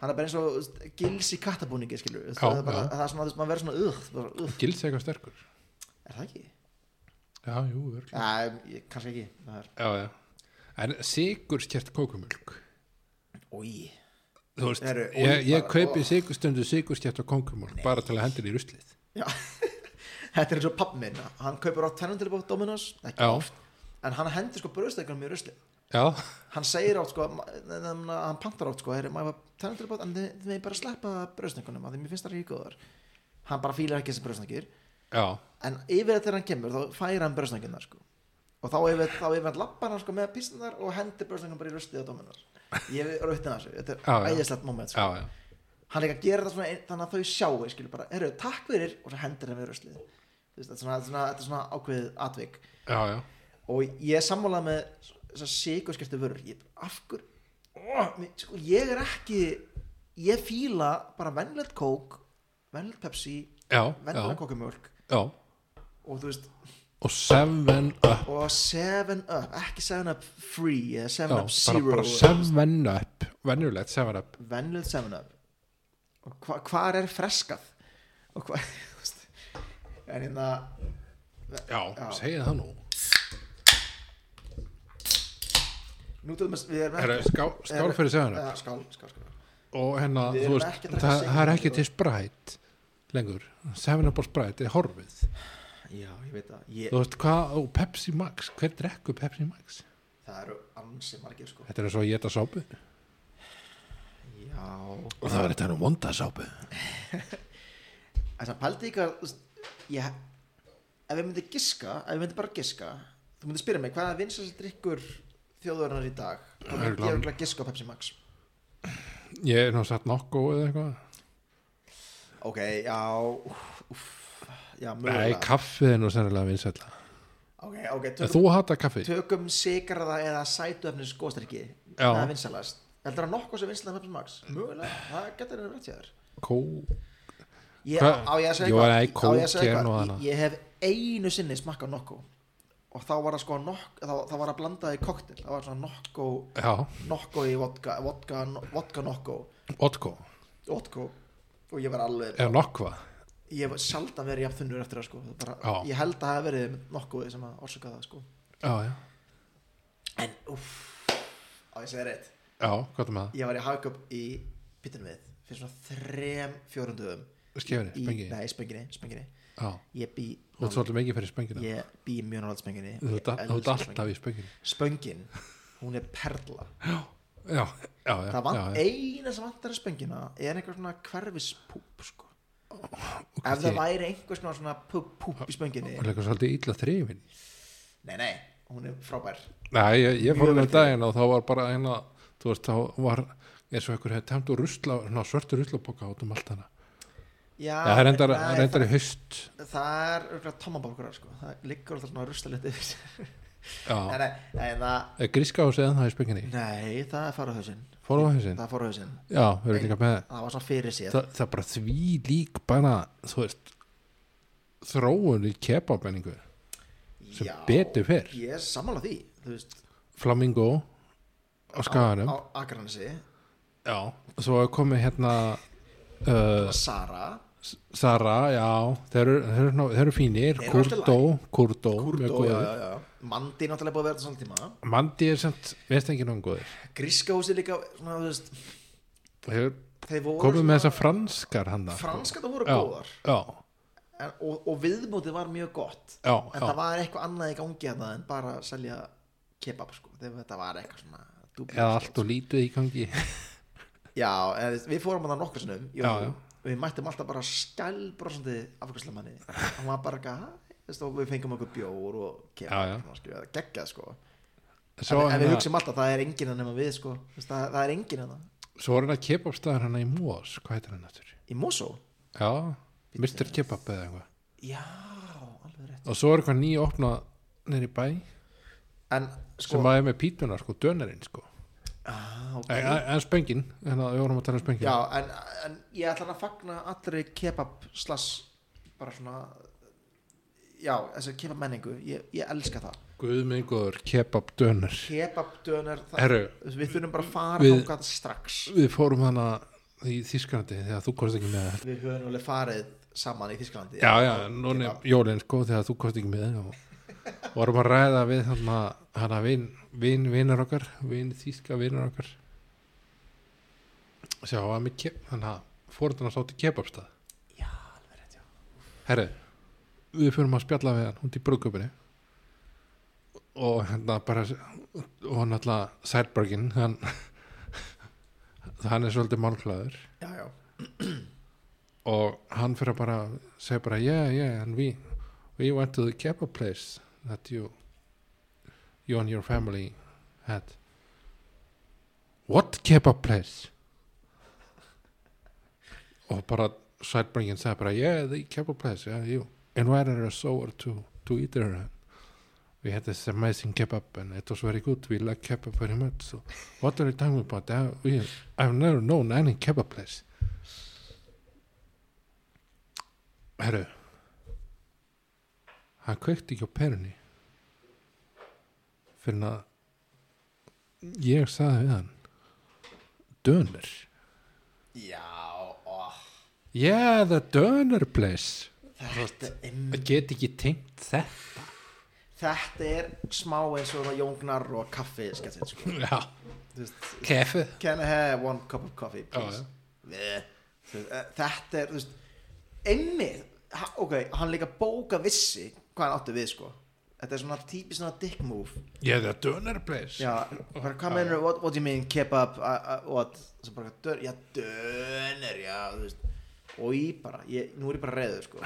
Speaker 2: hann er bara eins og þú veist, gils í kattabúningi skilur, já, það,
Speaker 1: Já,
Speaker 2: er bara,
Speaker 1: já.
Speaker 2: það er svona, þú veist, maður verður svona "Ugh", bara, "Ugh",
Speaker 1: gils eitthvað sterkur
Speaker 2: er það ekki?
Speaker 1: já, jú, örugglega.
Speaker 2: Ja, ég, kannski ekki það er,
Speaker 1: já, já. en sigur skert kókumjölk
Speaker 2: ói,
Speaker 1: þú veist,
Speaker 2: Eru-
Speaker 1: ég, ég
Speaker 2: bara-
Speaker 1: kaupi sigur, stundu sigur skert og kókumjölk bara til að hendur í ruslið
Speaker 2: já þetta er eins og pappi minn, hann kaupir á tennum til bótt Dominos, ekki
Speaker 1: Já.
Speaker 2: oft en hann hendur sko bröðstekunum í rusli
Speaker 1: já,
Speaker 2: hann segir átt sko, ma- ne- ne- ne- hann pantar átt sko, er maður tennum til bótt en þið þið megið bara sleppa bröðstekunum að því mér finnst það ekki góðar hann bara fílar ekki þessi bröðstekir
Speaker 1: já,
Speaker 2: en yfir þegar hann kemur þá fær hann bröðsnögginnar sko. og þá yfir, þá yfir hann lappar hann sko, með písnar og hendir bröðsnögginn bara í rustið á dóminar ég er auðvitað þessu, þetta
Speaker 1: Já,
Speaker 2: er
Speaker 1: já.
Speaker 2: æðislegt moment
Speaker 1: já,
Speaker 2: sko.
Speaker 1: já
Speaker 2: hann líka gerir þetta svona ein- þannig að þau sjáu skilur bara, eru takk fyrir og svo hendir hann við ruslið Þú veist, þetta er svona, þetta er svona, þetta er svona ákveðið atvik
Speaker 1: já, já,
Speaker 2: og ég er sammálað með þessar sigurskiptu vörur ég, af hver oh, mér- sko, ég er ekki ég fíla bara vennlegt kók vennlegt pepsi,
Speaker 1: já, já,
Speaker 2: vennlegt kókumjólk
Speaker 1: já.
Speaker 2: og þú veist,
Speaker 1: og seven up
Speaker 2: og 7 up, ekki 7 up free eða
Speaker 1: já,
Speaker 2: 7 up
Speaker 1: bara,
Speaker 2: zero
Speaker 1: bara seven up venjulegt seven up
Speaker 2: venlöð 7 up og hva, hvar er freskað og hvað en hérna
Speaker 1: já,
Speaker 2: Já.
Speaker 1: segið það nú
Speaker 2: nú til dæmis við erum
Speaker 1: Herra, skál, skál fyrir seven up
Speaker 2: ja, skál, skál, skál.
Speaker 1: og hérna,
Speaker 2: Við
Speaker 1: þú
Speaker 2: erum
Speaker 1: veist,
Speaker 2: ekki að drekka
Speaker 1: það,
Speaker 2: Seven
Speaker 1: það er
Speaker 2: Up,
Speaker 1: ekki
Speaker 2: sko.
Speaker 1: til sprætt lengur, 7up og sprætt er horfið,
Speaker 2: já, ég veit það ég,
Speaker 1: þú veist hvað og Pepsi Max, hver drekku Pepsi Max
Speaker 2: það eru ansi margir sko
Speaker 1: þetta er svo að geta sápu og
Speaker 2: já,
Speaker 1: það var þetta nú vonda sápu
Speaker 2: þess að pældi ykkar þú veist, ég, ef ég myndi giska ef ég myndi bara giska þú myndi spyrja mig hvað er vinsast drikkur þjóðurinnar í dag þá myndi
Speaker 1: Örugglega-
Speaker 2: ég örugglega giska á Pepsi Max
Speaker 1: ég er nú satt nokku eða eitthvað
Speaker 2: Ok, já úff, úff, Já,
Speaker 1: nei,
Speaker 2: mögulega
Speaker 1: kaffið er nú sennilega vinsætla
Speaker 2: Ok, ok, tökum,
Speaker 1: þú hata kaffi,
Speaker 2: tökum sigraða eða sætuöfnis góðstyrki
Speaker 1: Já.
Speaker 2: Það er vinsalast Heldur það nokkuð sem vinsalast með Pepsi Max? Mögulega, það getur þeirra rétt hjá þér
Speaker 1: kó
Speaker 2: Ég,
Speaker 1: Hvað?
Speaker 2: á ég að segja
Speaker 1: Jú,
Speaker 2: eitthvað?
Speaker 1: nei,
Speaker 2: Á ég að
Speaker 1: kók er nú
Speaker 2: segja eitthvað?
Speaker 1: annað.
Speaker 2: Ég, ég hef einu sinni smakkað nokkuð og þá var það sko nokk þá, þá var það blandað í koktel það var svona nokko
Speaker 1: já,
Speaker 2: nokko í vodka vodka, vodka nokko
Speaker 1: otko
Speaker 2: vodka og ég var alveg
Speaker 1: eða nokkva,
Speaker 2: ég var sjaldan verið jafn þunnur eftir það sko Það bara,
Speaker 1: Já.
Speaker 2: ég held að það hafi verið nokkuð sem að orsaka það sko
Speaker 1: já, já
Speaker 2: En, uff, á ég segi rétt
Speaker 1: já, hvað er með
Speaker 2: Ég var í hagköp í pittunum við Fyrir svona þrem, fjórum dögum
Speaker 1: það skefri,
Speaker 2: í,
Speaker 1: spengi,
Speaker 2: Nei, spenginni, spenginni
Speaker 1: já
Speaker 2: Ég bý,
Speaker 1: þú ert svolítið mikið fyrir spengina
Speaker 2: ég bý mjög nálega spenginni
Speaker 1: þú ert all- þú ert alltaf í spengina
Speaker 2: Spöngin, hún er perla
Speaker 1: já, já, já,
Speaker 2: Það vant,
Speaker 1: já, já.
Speaker 2: eina sem vantar að spöngina Er einhver svona hverfispúp sko. Ef það
Speaker 1: ég-
Speaker 2: væri einhver svona, svona púp, púp í spönginni
Speaker 1: Það er eitthvað svolítið illa þrifin
Speaker 2: Nei, nei, hún er frábær
Speaker 1: Nei, ég, ég
Speaker 2: Mjög
Speaker 1: fór um
Speaker 2: vel
Speaker 1: daginn og þá var bara eina þú veist, þá var eins og einhver hefði tæmt úr rusla, ná, svörtu ruslapoka út um allt hana
Speaker 2: Ah, Já,
Speaker 1: Já, það er reyndar,
Speaker 2: nei,
Speaker 1: reyndar í haust
Speaker 2: það, það er örugglega tommabokkurar sko. Það liggur alltaf svona rustalit yfir sér Nei,
Speaker 1: Já,
Speaker 2: nei, nei, það,
Speaker 1: er gríska hús eða það í spenginni
Speaker 2: nei, það er farahauðsinn
Speaker 1: Fór á hausinn?
Speaker 2: Það er farahauðsinn
Speaker 1: Já, við erum líka með
Speaker 2: Það var svona fyrir sér
Speaker 1: Þa, Það er bara því lík bara, þú veist þróun í kebabenningu sem
Speaker 2: Já,
Speaker 1: betur fer.
Speaker 2: Ég er sammála því Þú veist
Speaker 1: Flamingo á skaganum
Speaker 2: Á Akranesi
Speaker 1: Já, svo er komið hérna uh,
Speaker 2: Sara
Speaker 1: Sara, já þeir eru, þeir eru, ná- þeir eru fínir
Speaker 2: Þeir eru alltaf
Speaker 1: Kurdo, Kurdo, mjög
Speaker 2: Kurdo, já,
Speaker 1: góður
Speaker 2: já, já Mandi náttúrulega búið að vera þetta svona tíma
Speaker 1: Mandi er samt, veist ekki náum góður
Speaker 2: Gríska húsi líka Svona, þú veist
Speaker 1: Hefur
Speaker 2: Þeir voru
Speaker 1: komið með þessar franskar hann
Speaker 2: Franska það voru
Speaker 1: já,
Speaker 2: góðar
Speaker 1: já,
Speaker 2: en, og, og viðmótið var mjög gott
Speaker 1: já,
Speaker 2: En
Speaker 1: já,
Speaker 2: það var eitthvað annað í gangi hérna En bara að selja kebab sko Þegar þetta var eitthvað svona dúbli-
Speaker 1: eða allt og lítið í gangi
Speaker 2: já, en þú veist, við fórum að það nokkur sinnum jú,
Speaker 1: Já, já.
Speaker 2: og við mættum alltaf bara skælbrosandi afgjörslemanni hann var bara eitthvað, hæ, veist, og við fengum okkur bjór og
Speaker 1: Já, já.
Speaker 2: kemur, svona, skilja, geggjað sko
Speaker 1: svo
Speaker 2: en, en við
Speaker 1: hérna-
Speaker 2: hugsim alltaf, það er enginn hann nema við sko, veist, það, það er enginn hérna. hann
Speaker 1: Svo var hann að kebabstaðar hann í Mós, hvað heitir hann aftur?
Speaker 2: í Mosó,
Speaker 1: Já, Mr. Kebab eða eitthvað
Speaker 2: já, alveg rétt
Speaker 1: Og svo er eitthvað nýja opna nýri bæ
Speaker 2: en
Speaker 1: sem
Speaker 2: sko,
Speaker 1: að er með pítunar, sko, dönerinn, sko
Speaker 2: ah, ok.
Speaker 1: En, en spöngin, en að við vorum að tala um spöngin
Speaker 2: já, en, en ég ætla að fagna allri kebab slass bara svona já, þessi kebab menningu, ég, ég elska það
Speaker 1: Guðmengur, kebab, döner
Speaker 2: kebab dönar,
Speaker 1: Herru,
Speaker 2: við þurfum bara að fara
Speaker 1: Við-
Speaker 2: við, strax
Speaker 1: við fórum hann að í Þískarandi þegar þú komst ekki með
Speaker 2: við höfum alveg farið saman í Þísklandi
Speaker 1: Já, já, núna er jólinn, sko, þegar þú komst ekki með og vorum að ræða við hann að hann að vin, vin, vinar okkar vin, þýska vinar okkar Sjá, hann með keb, hann að fórðan að sátti kebabstað
Speaker 2: já alveg rétt, já
Speaker 1: Herri, við fyrum að spjalla við hann hundi í brúðköpunni og hérna bara og hann alltaf Sætbergin hann, hann er svolítið málklaður
Speaker 2: já, já,
Speaker 1: og hann fyrir að bara segja bara yeah, yeah, and we we went to the kebab place that you you and your family had what kebab place og bara sætbringin segja bara yeah, the kebab place, yeah, you invited us over to, to eat there and we had this amazing kebab and it was very good, we like kebab very much so what are you talking about I, we, I've never known any kebab place Herru Hann kveikti ekki á perunni fyrir að ég sagði við hann Döner
Speaker 2: já oh, ó,
Speaker 1: Yeah, the döner place
Speaker 2: þetta, em,
Speaker 1: Það get ekki tengt þetta
Speaker 2: þetta er smá eins og það jóngnar og kaffi skettin, sko.
Speaker 1: Já,
Speaker 2: Þú veist,
Speaker 1: kefi
Speaker 2: can I have one cup of coffee please
Speaker 1: Já,
Speaker 2: Bleh. Þú veist, eh, þetta er þú veist, einmið, ha- ok, hann líka bóka vissi hvað hann átti við sko þetta er svona típist svona dick move
Speaker 1: Yeah, the döner place
Speaker 2: Já, bara hvað mennur, what, what do you mean, kebab, uh, uh, what, sem bara, dör, já, döner, já, þú veist, og ég bara, ég, nú er ég bara reyður, sko.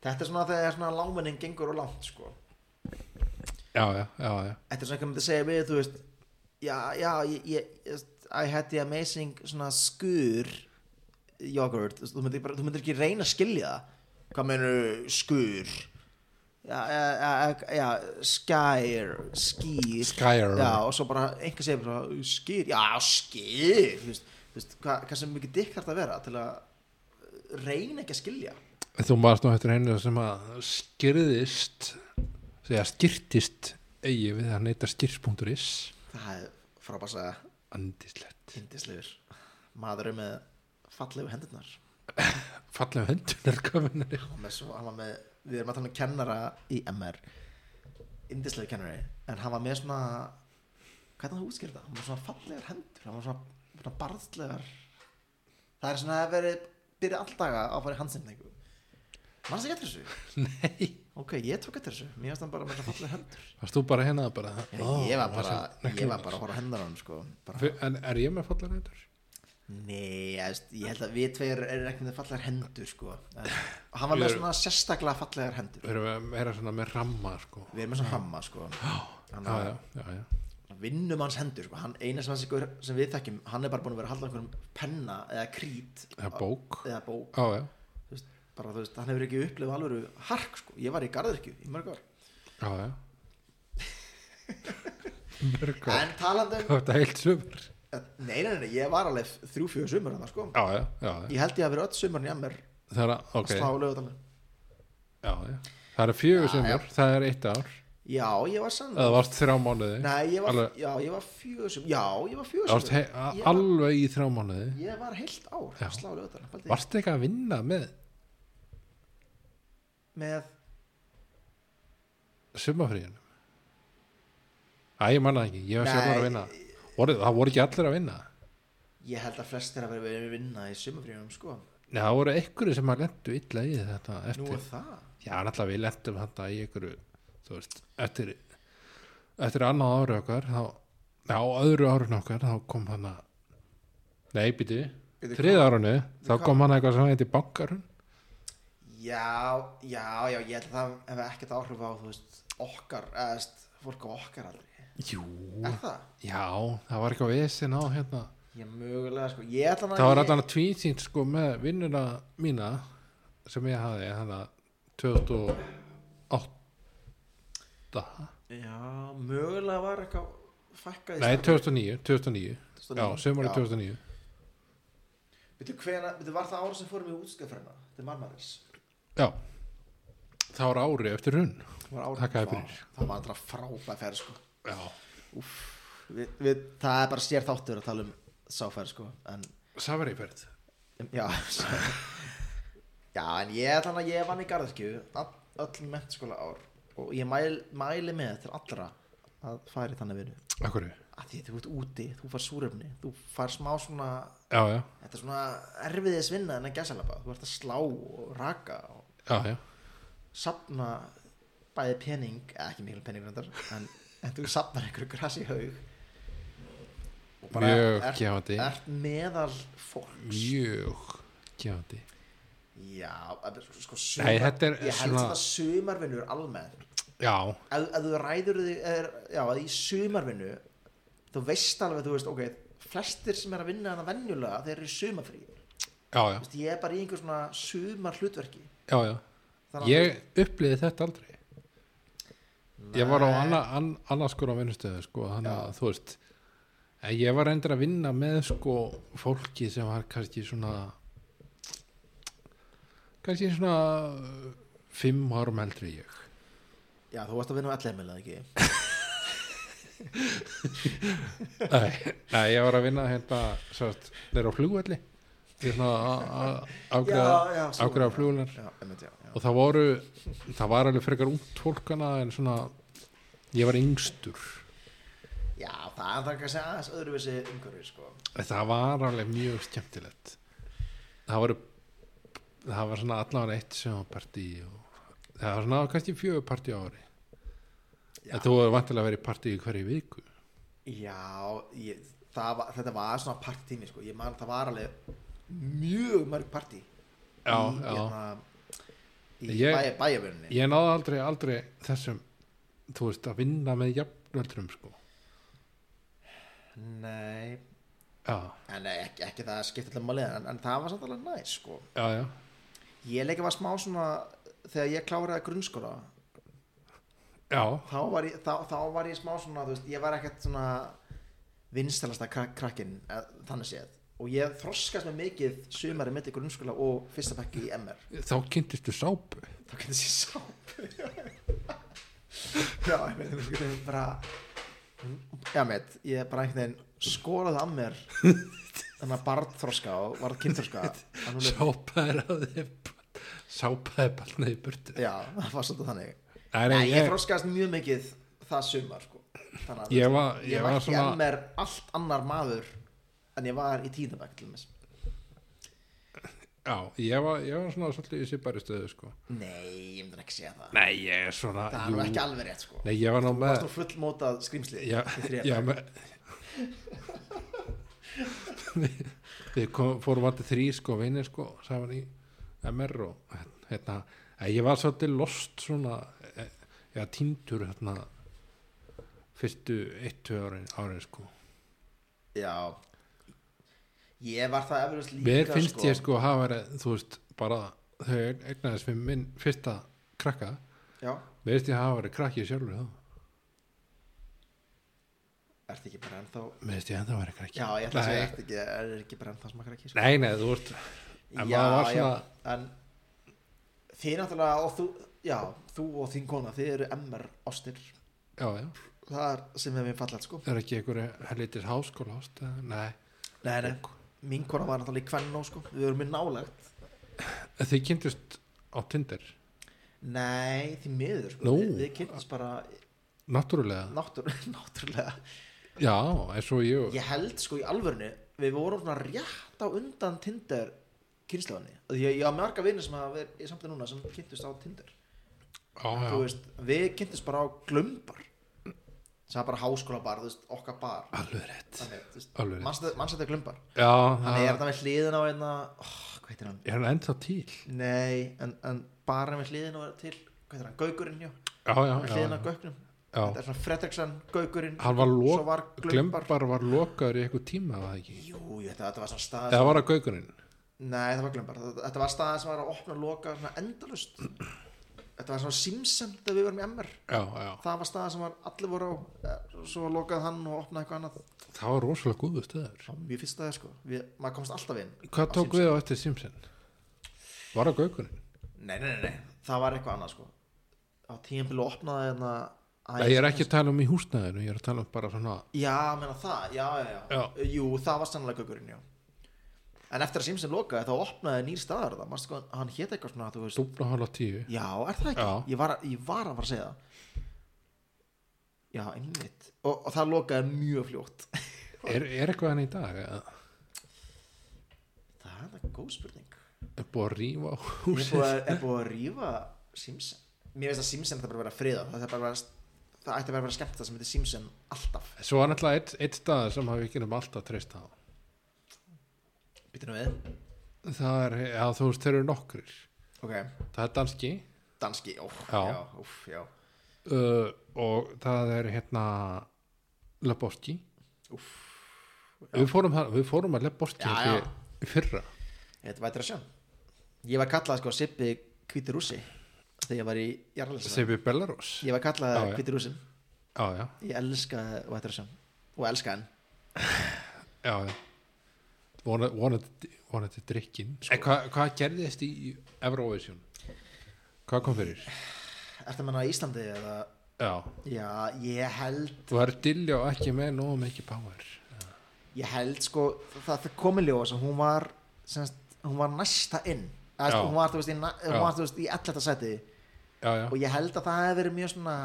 Speaker 2: Þetta er svona þegar svona lámennin gengur og langt, sko.
Speaker 1: já, já, já, já.
Speaker 2: Þetta er svona eitthvað myndi segja við, þú veist, já, já, ég, ég, þú veist, I had the amazing svona skur yoghurt, þú veist, þú myndir, bara, þú myndir ekki reyna að skilja það. Hvað mennur skur? Já, já, já, já, skær, skýr.
Speaker 1: Skyer
Speaker 2: Já, og svo bara einhver segir bara, skýr, já, skýr þú veist, þú veist hvað, hvað sem mikið dikk þarf að vera til að reyna ekki að skilja
Speaker 1: Þú maður nú eftir einu sem að skyrðist segja skyrtist eigi við að neyta skyrst.is
Speaker 2: það er frábæsa
Speaker 1: Andislegt
Speaker 2: yndislegur maður er með fallegu hendurnar
Speaker 1: Fallega hendunar kominari
Speaker 2: hann, með svo, hann var með, við erum að tala um kennara í MR yndislegur kennari, en hann var með svona hvað er það að útskýra það? hann var svona fallegar hendur, hann var svona, svona barðslegar það er svona að veri byrja alldaga á að fara í handsinningu mannst ekki eftir þessu?
Speaker 1: Nei
Speaker 2: Ok, ég tók eftir þessu, mér finnst hann bara með það fallið hendur
Speaker 1: Varst þú bara hérna bara
Speaker 2: ég,
Speaker 1: ó,
Speaker 2: ég var
Speaker 1: það
Speaker 2: bara,
Speaker 1: sem-
Speaker 2: ég var bara að horfa á hendur á hann sko bara,
Speaker 1: Fyr- En er ég með fallar hendur?
Speaker 2: Nei, ég, veist, ég held að við tveir erum ekki með fallegar hendur sko en, Hann var
Speaker 1: Við
Speaker 2: með
Speaker 1: erum-
Speaker 2: svona sérstaklega fallegar hendur
Speaker 1: Við erum að vera svona með ramma sko
Speaker 2: Við erum með svona hamma sko Hann
Speaker 1: Já,
Speaker 2: var-
Speaker 1: já, já, já
Speaker 2: Vinnum hans hendur sko hann, Eina sem, hans ykkur, sem við þekkjum, hann er bara búin að vera að halda einhverjum penna eða krít
Speaker 1: Það er bók
Speaker 2: eða bók
Speaker 1: Já, já,
Speaker 2: Þú veist, bara, þú veist, Hann hefur ekki upplifað alveg hark sko Ég var í garðirkju í mörg ár
Speaker 1: já, já Mörg
Speaker 2: En talandi um,
Speaker 1: Þetta er heilt sumur
Speaker 2: nei, nei, nei, nei, ég var alveg þrjú, fjögur sumur hann sko
Speaker 1: Já, já, já, já.
Speaker 2: Ég held ég að vera öll sumarn í MR
Speaker 1: Það er að, ok
Speaker 2: að slá lögadalinn
Speaker 1: já, já. Það er fjögur
Speaker 2: Já,
Speaker 1: sumur, það er eitt ár
Speaker 2: Já, ég var sann
Speaker 1: Það varst þrjá mánuði
Speaker 2: Nei, ég var,
Speaker 1: alveg-
Speaker 2: já, ég var fjögusum Já, ég var
Speaker 1: Það varst
Speaker 2: fjögusum
Speaker 1: hei, a-
Speaker 2: Ég var-
Speaker 1: alveg í þrjá mánuði
Speaker 2: Ég var heilt ár
Speaker 1: Já.
Speaker 2: að slá lögadalinn
Speaker 1: Varst ekki að vinna með
Speaker 2: Með,
Speaker 1: sumafríðinu Æ, ég manna ekki, ég var sjálfur að
Speaker 2: Nei.
Speaker 1: vinna voru, Það voru ekki allir að vinna
Speaker 2: ég held að flestir að vera verið að vinna í sumafríðunum sko
Speaker 1: Nei, það voru einhverju sem að lendu illa í þetta
Speaker 2: Nú
Speaker 1: eftir,
Speaker 2: er það
Speaker 1: já, náttúrulega við lendum þetta í einhverju, þú veist eftir, eftir annað ára okkar þá, já, á öðru árun okkar þá kom hann að Nei, býti,
Speaker 2: Bíddu,
Speaker 1: þriða árunni þá kom hann eitthvað sem heiti bankarun
Speaker 2: Já, já, já, ég held að það hefði ekkert áhrif á, þú veist, okkar, eða, þú veist, fólk á okkar aldrei.
Speaker 1: Jú
Speaker 2: Er það?
Speaker 1: Já, það var eitthvað vesinn á hérna
Speaker 2: Ég mögulega, sko, ég ætla að
Speaker 1: Það var
Speaker 2: ég...
Speaker 1: allan að tvísýnt sko með vinnuna mína sem ég hafði hann að 2008
Speaker 2: Já, mögulega var eitthvað fækkað í
Speaker 1: Nei, 2009, 2009 Já, sömari 2009
Speaker 2: Veitu, hvena, veitu, var það ára sem fórum í útskjöfrena? Þetta er marmaris.
Speaker 1: Já Það var ári eftir hrun
Speaker 2: Það var ára.
Speaker 1: Þakkaði fyrir.
Speaker 2: Það var alltaf frábæð ferð, sko.
Speaker 1: Já
Speaker 2: Við, við, það er bara sér þáttur að tala um sáferð, sko, en...
Speaker 1: Safariferð
Speaker 2: Já Já, en ég þannig að ég vann í garðskju öll mentaskóla ár og ég mæl, mæli með til allra að færi þannig vinnu
Speaker 1: Akkur Já,
Speaker 2: að því þú ert úti, þú far súrefni þú far smá svona,
Speaker 1: já,
Speaker 2: þetta er svona erfiðis vinna en að gæsalapa, þú ert að slá og raka og
Speaker 1: já, já
Speaker 2: sapna bæði pening, eða ekki mikil pening reyndar, en, en þú sapnar einhverju grasi haug og
Speaker 1: Mjög
Speaker 2: ert,
Speaker 1: gefandi.
Speaker 2: ert meðal fólks
Speaker 1: Mjög Gjandi
Speaker 2: Já, að- sko
Speaker 1: Nei, þetta er
Speaker 2: Ég held
Speaker 1: svona-
Speaker 2: að sumarvinnur almennt
Speaker 1: Já,
Speaker 2: Ef ef þú ræður þig er, Já, að í sumarvinnu Þú veist alveg, þú veist, ok Flestir sem er að vinna hana venjulega Þeir eru í sumarfrí Þú
Speaker 1: já, já,
Speaker 2: veist, Ég er bara í einhver svona sumar hlutverki
Speaker 1: já, já. Ég upplýði þetta aldrei Ég var á anna, an, annarskur á vinnustöðu sko, þannig að þú veist en ég var endur að vinna með sko fólki sem var kannski svona kannski svona uh, fimm árum eldri en ég
Speaker 2: Já, þú varst að vinna á allir meðlega ekki
Speaker 1: nei, nei, ég var að vinna hérna sátt, þeir á flugvelli ég svona að- að afgræða
Speaker 2: já, svo-
Speaker 1: afgræða flugvelnar
Speaker 2: Já, emmitt, já, já
Speaker 1: og það voru það var alveg frekar út fólkana en svona ég var yngstur
Speaker 2: Já, það er það kannski aðeins öðruvísi umhverfi, sko
Speaker 1: það var alveg mjög skemmtilegt það voru það var svona allavega eitt sjónpartí og það var svona kannski fjögur partí á ári
Speaker 2: Já.
Speaker 1: þetta voru vantilega að vera í partí í hverju viku
Speaker 2: Já, ég, það var, þetta var svona partími, sko Ég man, það var alveg mjög mörg partí
Speaker 1: já,
Speaker 2: í,
Speaker 1: já.
Speaker 2: hérna, í
Speaker 1: Ég-
Speaker 2: bæ, bæjarvinni
Speaker 1: ég náði aldrei, aldrei þessum þú veist að vinna með jafnöldrum sko
Speaker 2: Nei,
Speaker 1: já,
Speaker 2: en nei, ekki, ekki það skipti allir málið en, en það var samt alveg næs sko.
Speaker 1: já, já,
Speaker 2: Ég leika var smá svona þegar ég kláraði grunnskóla
Speaker 1: já
Speaker 2: þá var ég, þá, þá var ég smá svona þú veist, ég var ekkert svona vinstalasta krak krakkin eh, þannig séð og ég þroskast með mikið sumari mitt í grunnskóla og fyrsta bekki í MR
Speaker 1: þá kynntistu sápu
Speaker 2: þá getur þessi sápu já, ég veit ég veit bara já, meit, ég bara einhvern veginn skólaði að mér þannig að barðþroska og varð kynþroska að núna-
Speaker 1: sápa er að þið sápa er balnaði í burtu
Speaker 2: já, það var svolítið þannig
Speaker 1: Nei,
Speaker 2: Nei,
Speaker 1: nei,
Speaker 2: ég,
Speaker 1: ég,
Speaker 2: þroskaðist mjög mikið það sumar sko. þannig að
Speaker 1: Ég var- ég var
Speaker 2: ég var ekki
Speaker 1: svona-
Speaker 2: að mér allt annar maður en ég var í tíðabæk til þess
Speaker 1: já, ég, var, ég var svona svolítið í sýpari stöðu sko.
Speaker 2: nei, ég myndi ekki segja það
Speaker 1: Nei, ég er svona
Speaker 2: það er
Speaker 1: jú.
Speaker 2: nú ekki alveg rétt sko.
Speaker 1: Nei, ég var nú
Speaker 2: það var
Speaker 1: með
Speaker 2: svona fullmótað skrýmsli
Speaker 1: Já,
Speaker 2: í þriðja
Speaker 1: já
Speaker 2: bekk.
Speaker 1: með Við- Við kom, fórum vanti þrý sko vinir sko saman í MR og hérna, að ég var svolítið lost svona eh, eða týndur hérna fyrstu eittu árin, árin sko
Speaker 2: Já Ég var það eflust líka
Speaker 1: Mér finnst
Speaker 2: sko.
Speaker 1: ég sko að hafa verið, þú veist, bara þau eignaðist við minn fyrsta krakka
Speaker 2: Já,
Speaker 1: Mér finnst ég að hafa verið krakki sjálfur þá
Speaker 2: ertu ekki bara ennþá
Speaker 1: Mér finnst ég ennþá verið krakki
Speaker 2: Já, ég ætla að segja,
Speaker 1: Nei,
Speaker 2: ertu ekki, er ekki bara ennþá smakar ekki sko.
Speaker 1: Nei, nei, þú veist en
Speaker 2: Já,
Speaker 1: maður var
Speaker 2: já,
Speaker 1: svona-
Speaker 2: en Þið náttúrulega og þú Já, þú og þín kona, þið eru MR ástir
Speaker 1: Já, já
Speaker 2: Það er sem við mér fallað sko
Speaker 1: Það er ekki einhverju hellitir háskóla ást eða- Nei,
Speaker 2: Nei, nei, mín kona var náttúrulega í kvennó sko Við erum mér nálægt
Speaker 1: þið kynntust á Tinder
Speaker 2: Nei, því miður sko
Speaker 1: Nú.
Speaker 2: Við, við kynntumst bara
Speaker 1: Náttúrulega,
Speaker 2: náttúr, náttúrulega
Speaker 1: já, eins og ég
Speaker 2: Ég held sko í alvörinu Við vorum svona rétt á undan Tinder kynnslóðinni Því ég, ég á marga vinnir sem hafa verið í samtli núna sem kynntust á Tinder
Speaker 1: Já,
Speaker 2: Þú
Speaker 1: já,
Speaker 2: veist, Við kynntust bara á glömbar sem er bara háskóla bar, þú veist, okkar bar
Speaker 1: alveg rétt
Speaker 2: þannig, þú veist,
Speaker 1: Alveg rétt.
Speaker 2: mannsættu glumbar
Speaker 1: já,
Speaker 2: þannig er hérna.
Speaker 1: það-
Speaker 2: þetta með hliðin á einna oh, hvað heitir hann?
Speaker 1: er hann ennþá til
Speaker 2: Nei, en, en bara með hliðin á til, hvað heitir hann? Gaugurinn, já,
Speaker 1: já, já,
Speaker 2: með
Speaker 1: já,
Speaker 2: hliðin á
Speaker 1: já,
Speaker 2: Gauknum þetta
Speaker 1: já.
Speaker 2: er svona Fredriksson, Gaugurinn
Speaker 1: hann var,
Speaker 2: svo
Speaker 1: lok,
Speaker 2: var glumbar,
Speaker 1: glembar var lokaður í eitthvað tíma var það ekki,
Speaker 2: jú, ég, þetta, þetta var svona stað
Speaker 1: eða var það gaukurinn
Speaker 2: Nei, það var glömbar. Þetta þetta var staðið sem var að opna og loka svona endalust. Þetta var svona Simpson þegar við varum í MR.
Speaker 1: já, já,
Speaker 2: Það var staðið sem var allir voru á, eh, svo lokaði hann og opnaði eitthvað annað.
Speaker 1: það var rosalega góðu stöður
Speaker 2: Það var mjög fyrst staðið sko. Við, maður komst alltaf inn.
Speaker 1: hvað
Speaker 2: á
Speaker 1: tók við á eftir Simpson var það gaukurinn
Speaker 2: Simpson. Nei, nei, nei, nei. Það var eitthvað annað sko. Á tíðanbílu opnaði hérna...
Speaker 1: Nei, ég er ekki að tala um í húsnæðinu, ég er að tala um bara svona
Speaker 2: Já, menna það. Já, já, já.
Speaker 1: Já.
Speaker 2: Jú, það var sannlega gökurinn, já. En eftir að Simpson lokaði þá opnaði nýr staðar það. Manstu hvað, hann hét eitthvað svona, þú veist,
Speaker 1: dúfna hálf á tíu
Speaker 2: Já, er það ekki?
Speaker 1: Já.
Speaker 2: Ég var, að- ég var að fara að segja það Já, einmitt og, og það lokaði mjög fljótt
Speaker 1: er, er eitthvað hann í dag? eða?
Speaker 2: Það er þetta góð spurning
Speaker 1: Er búið að rífa á
Speaker 2: Er
Speaker 1: húsið?
Speaker 2: búið, að- er búið að rífa Simpson Mér finnst að Simpson það bara að vera friða Það, er bara að vera, það ætti bara að vera skemmt það sem heitir Simpson alltaf
Speaker 1: Svo var náttúrulega eitt, eitt stað sem hafi ekki um alltaf treyst á
Speaker 2: Býtum við
Speaker 1: Það er, já þú veist, þeir eru nokkrir
Speaker 2: Ok,
Speaker 1: Það er danski
Speaker 2: danski, ó, já,
Speaker 1: Já.
Speaker 2: já, úf, já
Speaker 1: uh, og það er hérna Leboski við fórum, þar- við fórum að Leboski
Speaker 2: Já,
Speaker 1: já, já. fyrra
Speaker 2: Þetta vætir að sjá Ég var kallað sko Sippi Hvíti Rússi Þegar ég var í Jarlins
Speaker 1: sem við Belarus
Speaker 2: Ég var kallað
Speaker 1: Já, já.
Speaker 2: Hvíti Rússin
Speaker 1: Já, já,
Speaker 2: Ég elska Vætir að sjá Og elska hann
Speaker 1: já, já. Vona- vonandi vonandi drikkin sko. hvað, hvað gerðist í Eurovision? Hvað kom fyrir?
Speaker 2: Ertu að menna í Íslandi eða?
Speaker 1: Já,
Speaker 2: Já, ég held,
Speaker 1: þú er dilljá ekki með nóg mikið power
Speaker 2: ég held sko, það, það komi ljóðs og hún var, semst, hún var næsta inn. Eða, sko,
Speaker 1: Já.
Speaker 2: hún var, þú veist, í, na- hún
Speaker 1: Já.
Speaker 2: var, þú veist, í 11. seti
Speaker 1: Já, já,
Speaker 2: og ég held að það hefði verið mjög svona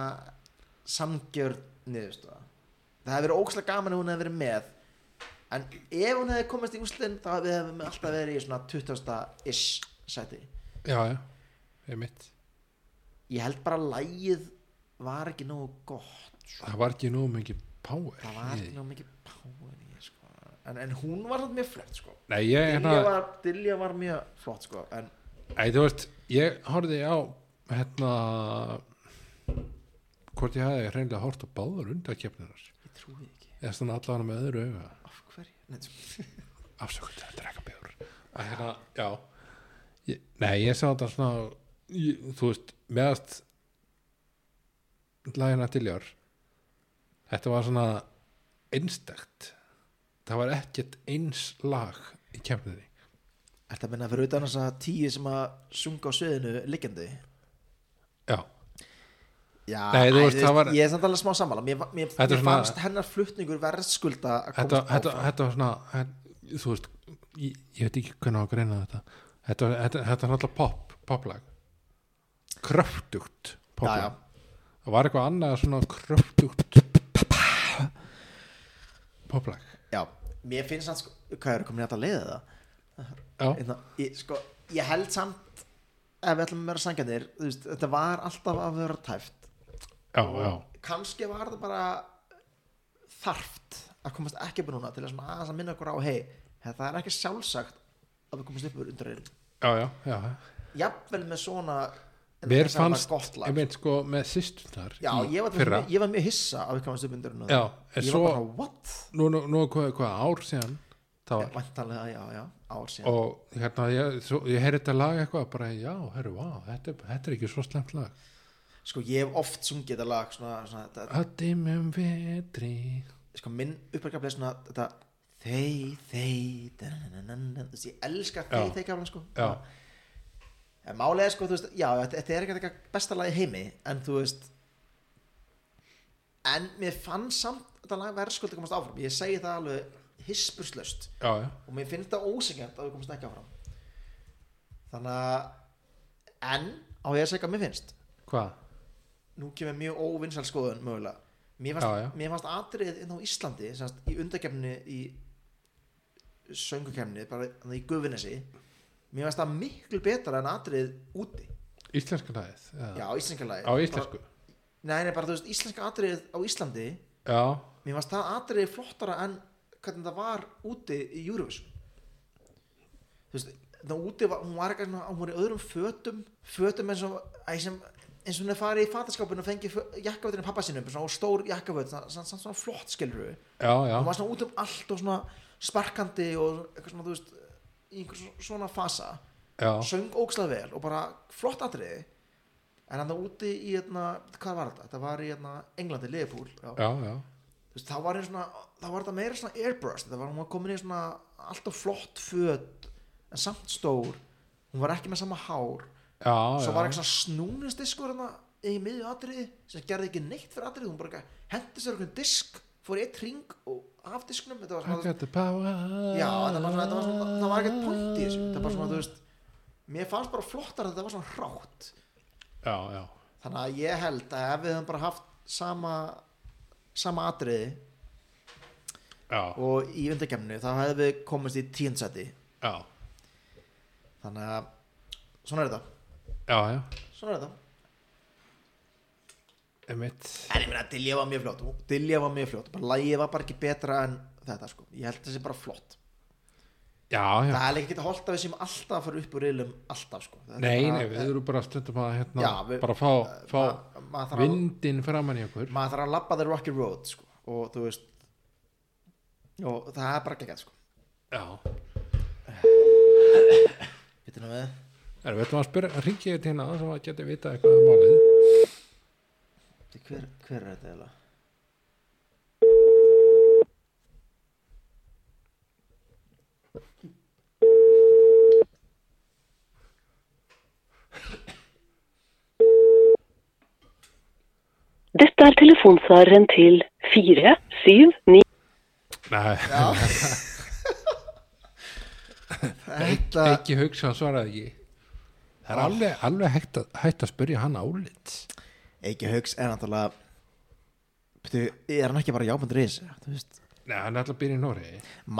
Speaker 2: samgjörn niðurstofa. Það hefði verið ókslega gaman ef hún hefði verið með. En ef hún hefði komist í úslinn, þá hefði við alltaf verið í svona 20-ish seti.
Speaker 1: já, já Ég mitt
Speaker 2: Ég held bara að lægið var ekki nógu gott, sko.
Speaker 1: Það var ekki nóg mikið power
Speaker 2: það var ekki
Speaker 1: Nei,
Speaker 2: náttúrulega mikið power í, því, sko. en, en hún var samt mjög flott sko.
Speaker 1: Nei ég,
Speaker 2: Dilja,
Speaker 1: hérna,
Speaker 2: var, Dilja var mjög flott sko. en
Speaker 1: ei, þú veist Ég horfði á, hérna Hvort ég hafði hreinlega hort á báðar undakefnirar
Speaker 2: ég trúi því ekki
Speaker 1: Eða svona allan með öðru auga
Speaker 2: af hverju Nei, sko. þú-
Speaker 1: Afsökun til að drekka bjór Að hérna, já ég, Nei, ég sá þetta svona ég, Þú veist, meðast Lægina tiljar Þetta var svona einstakt Það var ekkert eins lag í kemniði
Speaker 2: ertu að minna fyrir utan þess að tíu sem að sunga á söðinu liggjandi
Speaker 1: Já,
Speaker 2: já,
Speaker 1: Nei, þú
Speaker 2: æ,
Speaker 1: veist, það var-
Speaker 2: ég er samt alveg smá sammála mér, va- mér,
Speaker 1: Þetta er
Speaker 2: mér
Speaker 1: svona-
Speaker 2: fannst hennar flutningur verðskulda að
Speaker 1: þetta,
Speaker 2: komast
Speaker 1: þetta,
Speaker 2: áfram
Speaker 1: þetta var svona en, Þú veist, ég, ég veit ekki hvernig á að greina þetta Þetta, þetta, þetta er náttúrulega pop, poplag Kröftugt
Speaker 2: já,
Speaker 1: poplag
Speaker 2: já.
Speaker 1: Það var eitthvað annað svona kröftugt poplag
Speaker 2: já, mér finnst hann sko, hvað eru komin í þetta leiðið það
Speaker 1: Já,
Speaker 2: Einna, ég, sko, ég held samt ef við ætlum að vera sangjarnir þú veist, þetta var alltaf að vera tæft
Speaker 1: já, já,
Speaker 2: kannski var það bara þarft að komast ekki upp úr núna til að svona aðeins að minna okkur á hei, það er ekki sjálfsagt að við komast upp úr undir einn
Speaker 1: já, já, já.
Speaker 2: jafnvel með svona en
Speaker 1: Mér
Speaker 2: þess að það var
Speaker 1: fannst,
Speaker 2: gott
Speaker 1: ég
Speaker 2: lag
Speaker 1: meint sko með sýstunar
Speaker 2: já,
Speaker 1: í
Speaker 2: ég var,
Speaker 1: fyrra
Speaker 2: mjög, ég var mjög hissa að við komast upp undir einn
Speaker 1: Já, en
Speaker 2: ég
Speaker 1: svo-
Speaker 2: var bara, what?
Speaker 1: Nú, nú, nú hvað, hvað ár síðan það var
Speaker 2: vantanlega, já, já, ár síðan
Speaker 1: og hérna, ég, svo, ég heyri þetta lag eitthvað bara, já, herru, vá, þetta, er- þetta er ekki svo slemt lag
Speaker 2: sko, ég hef oft sungið þetta lag svona, svona, þetta,
Speaker 1: að dimmum vetri
Speaker 2: sko, minn uppverkefni er svona þetta þey, þey dananana, þú veist, ég elska þey,
Speaker 1: Já.
Speaker 2: þey gaflan sko
Speaker 1: já,
Speaker 2: en málega sko, þú veist, já, þetta, þetta er ekki eitthvað besta lag í heimi, en þú veist en mér fann samt þetta lag verðskulda komast áfram ég segi það alveg hispurslaust
Speaker 1: já, já,
Speaker 2: og mér finnst það ósengjant að við komast ekki áfram þannig að en á ég að segja hvað mér finnst
Speaker 1: hvað
Speaker 2: nú kemur mjög óvinnsæl skoðun mögulega mér fannst,
Speaker 1: Já, já.
Speaker 2: Mér fannst atrið inn á Íslandi semst, í undakefni í söngukefni bara þarna í gufinesi mér fannst það miklu betra en atrið úti
Speaker 1: íslenska lagið já.
Speaker 2: já, á íslenska lagi
Speaker 1: á íslensku,
Speaker 2: bara, nei, nei, bara þú veist, íslenska atrið á Íslandi
Speaker 1: já,
Speaker 2: mér varst það atriði flottara en hvernig það var úti í Eurovision þú veist það úti, var, hún var eitthvað svona hún var í öðrum fötum, fötum eins og æ, sem, eins og hún er farið í fataskapinu og fengið jakkavötinu pappa sinum svona, og stór jakkavöt, svona, svona, svona, svona flott skilur við
Speaker 1: já,
Speaker 2: hún
Speaker 1: já
Speaker 2: var svona út um allt og svona sparkandi og eitthvað svona, þú veist í einhver svo- svona fasa
Speaker 1: já,
Speaker 2: söng ógslað vel og bara flott atriði en hann það úti í hérna, hvað var þetta? það var í hérna, Englandi, Liverpool já.
Speaker 1: já, já
Speaker 2: Þú veist, þá var henni svona þá var þetta meira svona airburst það var hún var komin í svona alltaf flott föt en samt stór hún var ekki með sama hár
Speaker 1: Já,
Speaker 2: svo
Speaker 1: já,
Speaker 2: var ekki svona snúnins diskur hérna í miðju atriði sem gerði ekki neitt fyrir atriði hún bara eitthvað hendi sér okkur disk fór í eitt ring og af disknum þetta var
Speaker 1: I
Speaker 2: svona
Speaker 1: got the power
Speaker 2: já, það var, svona, það var, svona, það var ekkert punkt
Speaker 1: Ah.
Speaker 2: í þessu það var bara svona, þú veist mér fannst bara flottar að þetta var svona hrátt
Speaker 1: Já, já,
Speaker 2: þannig að ég held að ef við höfum bara haft sama sama atriði
Speaker 1: já,
Speaker 2: og í undarkemnu þá hefðum við komist í tíundsæti
Speaker 1: já,
Speaker 2: þannig að svona er þetta
Speaker 1: já, já
Speaker 2: svona er þetta
Speaker 1: Einmitt.
Speaker 2: en ég meina Dilja var mjög fljótt Dilja var mjög fljótt bara lægið var bara ekki betra en þetta sko ég held þessi bara flott
Speaker 1: Já, já
Speaker 2: það er ekki að holta við sem alltaf að fara upp úr reilum alltaf sko Þetta er
Speaker 1: Nei,
Speaker 2: bara-
Speaker 1: nei, við erum bara stundum að hérna,
Speaker 2: Já, við-
Speaker 1: bara fá, fá
Speaker 2: ma- maður þarf að-
Speaker 1: vindin framan í okkur
Speaker 2: maður þarf að labba the rocky road sko og þú veist og það er bara ekki ekki sko
Speaker 1: Já,
Speaker 2: Vittu nú við
Speaker 1: erum við ætlum að spyrja ringi ég til hérna aðeins að geti vita eitthvað um málið
Speaker 2: Bíddu, hver, hver er þetta eiginlega
Speaker 4: Dette er telefonsvareren til 479.
Speaker 1: Nei,
Speaker 2: þetta
Speaker 1: ekki hugsa hann svaraði ekki Það
Speaker 2: Ah.
Speaker 1: er alveg, alveg hægt, að, hægt að spyrja hann álit
Speaker 2: Eiki Hauks er náttúrulega Bíddu, er hann ekki bara jábundur í þessu þú veist
Speaker 1: Nei, hann er alltaf að byrja í Nóri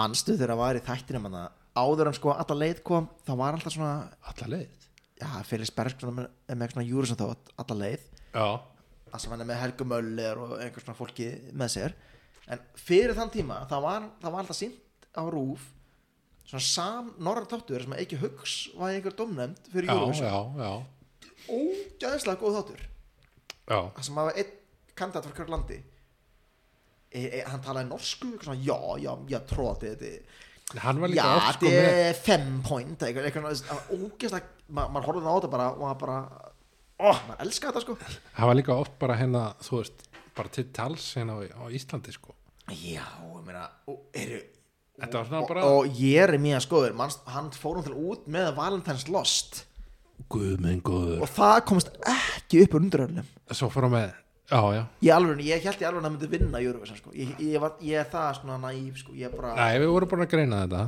Speaker 2: manstu þegar að var í þættinum hann áður en sko alla leið kom þá var alltaf svona
Speaker 1: Alla leið
Speaker 2: já, Felix Berg svona með, með svona júri sem þátt alla leið
Speaker 1: Já,
Speaker 2: að sem hann er með Helgu Möller og einhvers svona fólki með sér en fyrir þann tíma þá var, þá var alltaf sínt á rúf svona sam norra þáttur sem ekki hugs var í einhver domnefnd fyrir
Speaker 1: já,
Speaker 2: júri
Speaker 1: já, já,
Speaker 2: ógæðislega góð þáttur
Speaker 1: já.
Speaker 2: það sem hafa einn kandidat frá hverju landi e, e, hann talaði norsku eitthvað svona, já, já, já, tróði þetta
Speaker 1: Hann var líka
Speaker 2: já,
Speaker 1: oft sko
Speaker 2: þetta
Speaker 1: með
Speaker 2: er fem point eitthvað, eitthvað, eitthvað ógeðslega, ma maður horfði á þetta bara og maður bara, oh, maður elska þetta sko
Speaker 1: Það var líka oft bara hérna, þú veist, bara til tals hérna á, á Íslandi, sko.
Speaker 2: já, ég meina, og eru
Speaker 1: Þetta var svona
Speaker 2: og,
Speaker 1: bara,
Speaker 2: og ég er mjög skoður, manst, hann fór hún til út með Valentine's Lost
Speaker 1: guð minn góður.
Speaker 2: og það komst ekki upp úr unduröðunum
Speaker 1: Svo fór hann með, já, já.
Speaker 2: ég alveg, ég held ég alveg að hann myndi vinna Júruvísan sko, ég, ég, var, ég er það svona næf sko, ég er bara
Speaker 1: Nei, við vorum búin að greina þetta.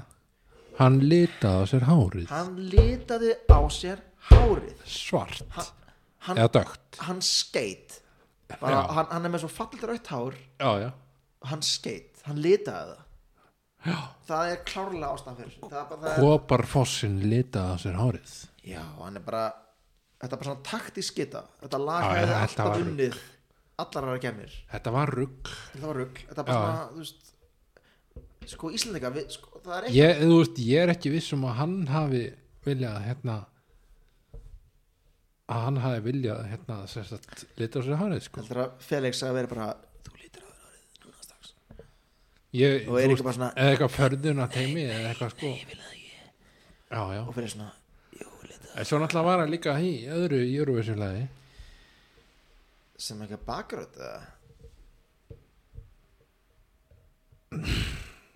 Speaker 1: Hann litaði á sér hárið,
Speaker 2: hann litaði á sér hárið
Speaker 1: svart,
Speaker 2: hann,
Speaker 1: eða dögt.
Speaker 2: hann skeit bara,
Speaker 1: Já.
Speaker 2: hann, hann er með svo fallit rautt hár
Speaker 1: Já, já.
Speaker 2: hann skeit, hann litaði það já. það er klárlega ástæðan fyrir þessu. það er bara, það er,
Speaker 1: Koparfossin litaði á sér hárið.
Speaker 2: já, hann er bara þetta er bara svona taktisk geta
Speaker 1: Já,
Speaker 2: þetta lag
Speaker 1: já,
Speaker 2: hefði
Speaker 1: þetta var
Speaker 2: alltaf
Speaker 1: rugl.
Speaker 2: unnið allar aðra gemir,
Speaker 1: Þetta var rugg.
Speaker 2: þetta var rugg þetta er
Speaker 1: Já.
Speaker 2: bara svona, þú veist sko Íslandinga, við, sko, það er ekki
Speaker 1: Ég, þú veist, ég er ekki viss um að hann hafi viljað, hérna, að hann hafi viljað, hérna, sem sagt, litaði á sér hárið, sko.
Speaker 2: heldur að Felix að vera bara þú lítir á það árið núna strax
Speaker 1: Ég,
Speaker 2: og er ekki bara svona,
Speaker 1: eða eitthvað förðun að teimi eða eitthvað sko já, já,
Speaker 2: og fyrir svona
Speaker 1: en svo náttúrulega var hann líka í öðru Eurovision-lagi
Speaker 2: sem eitthvað bakröð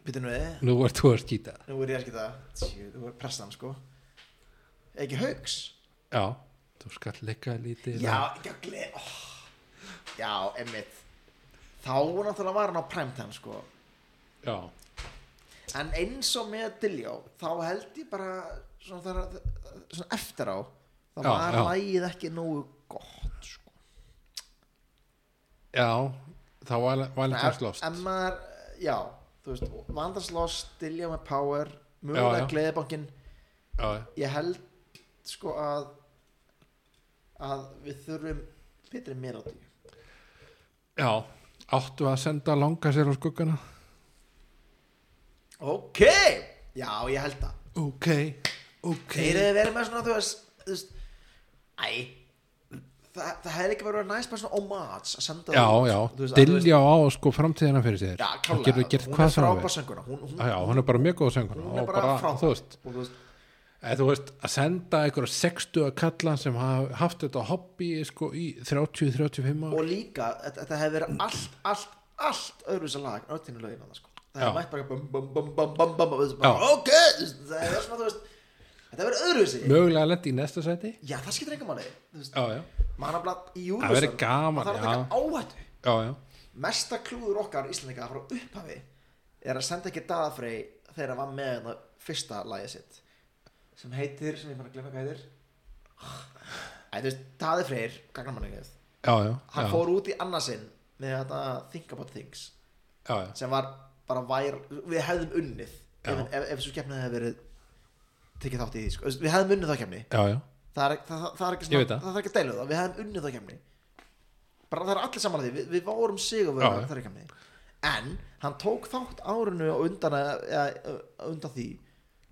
Speaker 2: Býtum við
Speaker 1: nú ert þú að skýta
Speaker 2: eh? Nú er ég að skita Tjú, Þú er pressan sko Ekki haugs
Speaker 1: já, þú skall leika lítið
Speaker 2: Já, gjögli oh. Já, emmitt Þá náttúrulega var hann á primetime sko
Speaker 1: já,
Speaker 2: En eins og með Dilljó Þá held ég bara Svona, þar, svona eftir á Þá
Speaker 1: Já,
Speaker 2: var
Speaker 1: já.
Speaker 2: lagið ekki nógu gott sko
Speaker 1: já þá var hann slóst
Speaker 2: en maður, já þú veist, vandarslost, dilja með power
Speaker 1: Já,
Speaker 2: mögulega
Speaker 1: já.
Speaker 2: gleðibankin
Speaker 1: já, já.
Speaker 2: ég held sko að að við þurfum betri mér á því
Speaker 1: já, Áttu að senda langa sér á skuggana?
Speaker 2: ok, já ég held það
Speaker 1: Ok, ok
Speaker 2: þeir eru verið með svona þú veist, þú veist æ það, það hefði ekki verið næst bara svona homage að senda
Speaker 1: Já,
Speaker 2: það út,
Speaker 1: já,
Speaker 2: þú veist, að þú veist-
Speaker 1: dilja á sko framtíðina fyrir sér
Speaker 2: já,
Speaker 1: Hún
Speaker 2: klálega,
Speaker 1: getur gert
Speaker 2: hún
Speaker 1: hvað
Speaker 2: er
Speaker 1: sem hún vil.
Speaker 2: frábær sönguna hún, hún,
Speaker 1: Já, já, hún er bara mjög góð söngur
Speaker 2: hún er bara frábær
Speaker 1: Þú veist,
Speaker 2: og þú veist,
Speaker 1: eða þú veist að senda einhverja 60 að kalla sem hafa haft þetta hobby sko í 30-35 ára
Speaker 2: og líka þetta- þetta hefði verið allt, allt, allt öðruvísa lag en öll hinu lögin annars sko. það
Speaker 1: Já.
Speaker 2: hefði mætt bara bum, bum, bum, bum, bum, bum, og þú veist bara,
Speaker 1: Já.
Speaker 2: ok, það hefði verið svona þú veist þetta hefði verið öðruvísi
Speaker 1: Mögulega lendi í næsta sæti
Speaker 2: já, það skiptir engum máli þú veist,
Speaker 1: Já, já,
Speaker 2: maður er bara
Speaker 1: Það
Speaker 2: í
Speaker 1: væri
Speaker 2: Eurovision
Speaker 1: gaman,
Speaker 2: það þarf að taka áhættu
Speaker 1: já, já
Speaker 2: mesta klúður okkar íslendinga frá upphafi er að senda ekki daðafrey þegar hann var með hérna fyrsta lagið sitt sem heitir, sem ég fann að glemma hvað heitir Æ, þú veist, daðafreyr gagnamanningið,
Speaker 1: Já, já,
Speaker 2: hann
Speaker 1: já,
Speaker 2: fór út í annarsinn með þetta Think About Things
Speaker 1: já, já.
Speaker 2: sem var bara vær við hefðum unnið
Speaker 1: Já.
Speaker 2: ef, ef, ef svo kemnið hefði verið tekið þátt í því, sko. Þú veist, við hefðum unnið þá kemni
Speaker 1: já, já.
Speaker 2: það er, það, það, það er ekki
Speaker 1: Ég veit
Speaker 2: svona,
Speaker 1: það.
Speaker 2: það þarf ekki að deilu það við hefðum unnið þá kemni bara það er allir saman að því, við, við vorum sigur við
Speaker 1: Já, já.
Speaker 2: það kemni en hann tók þátt árinu og undan, að- eða, ö, undan því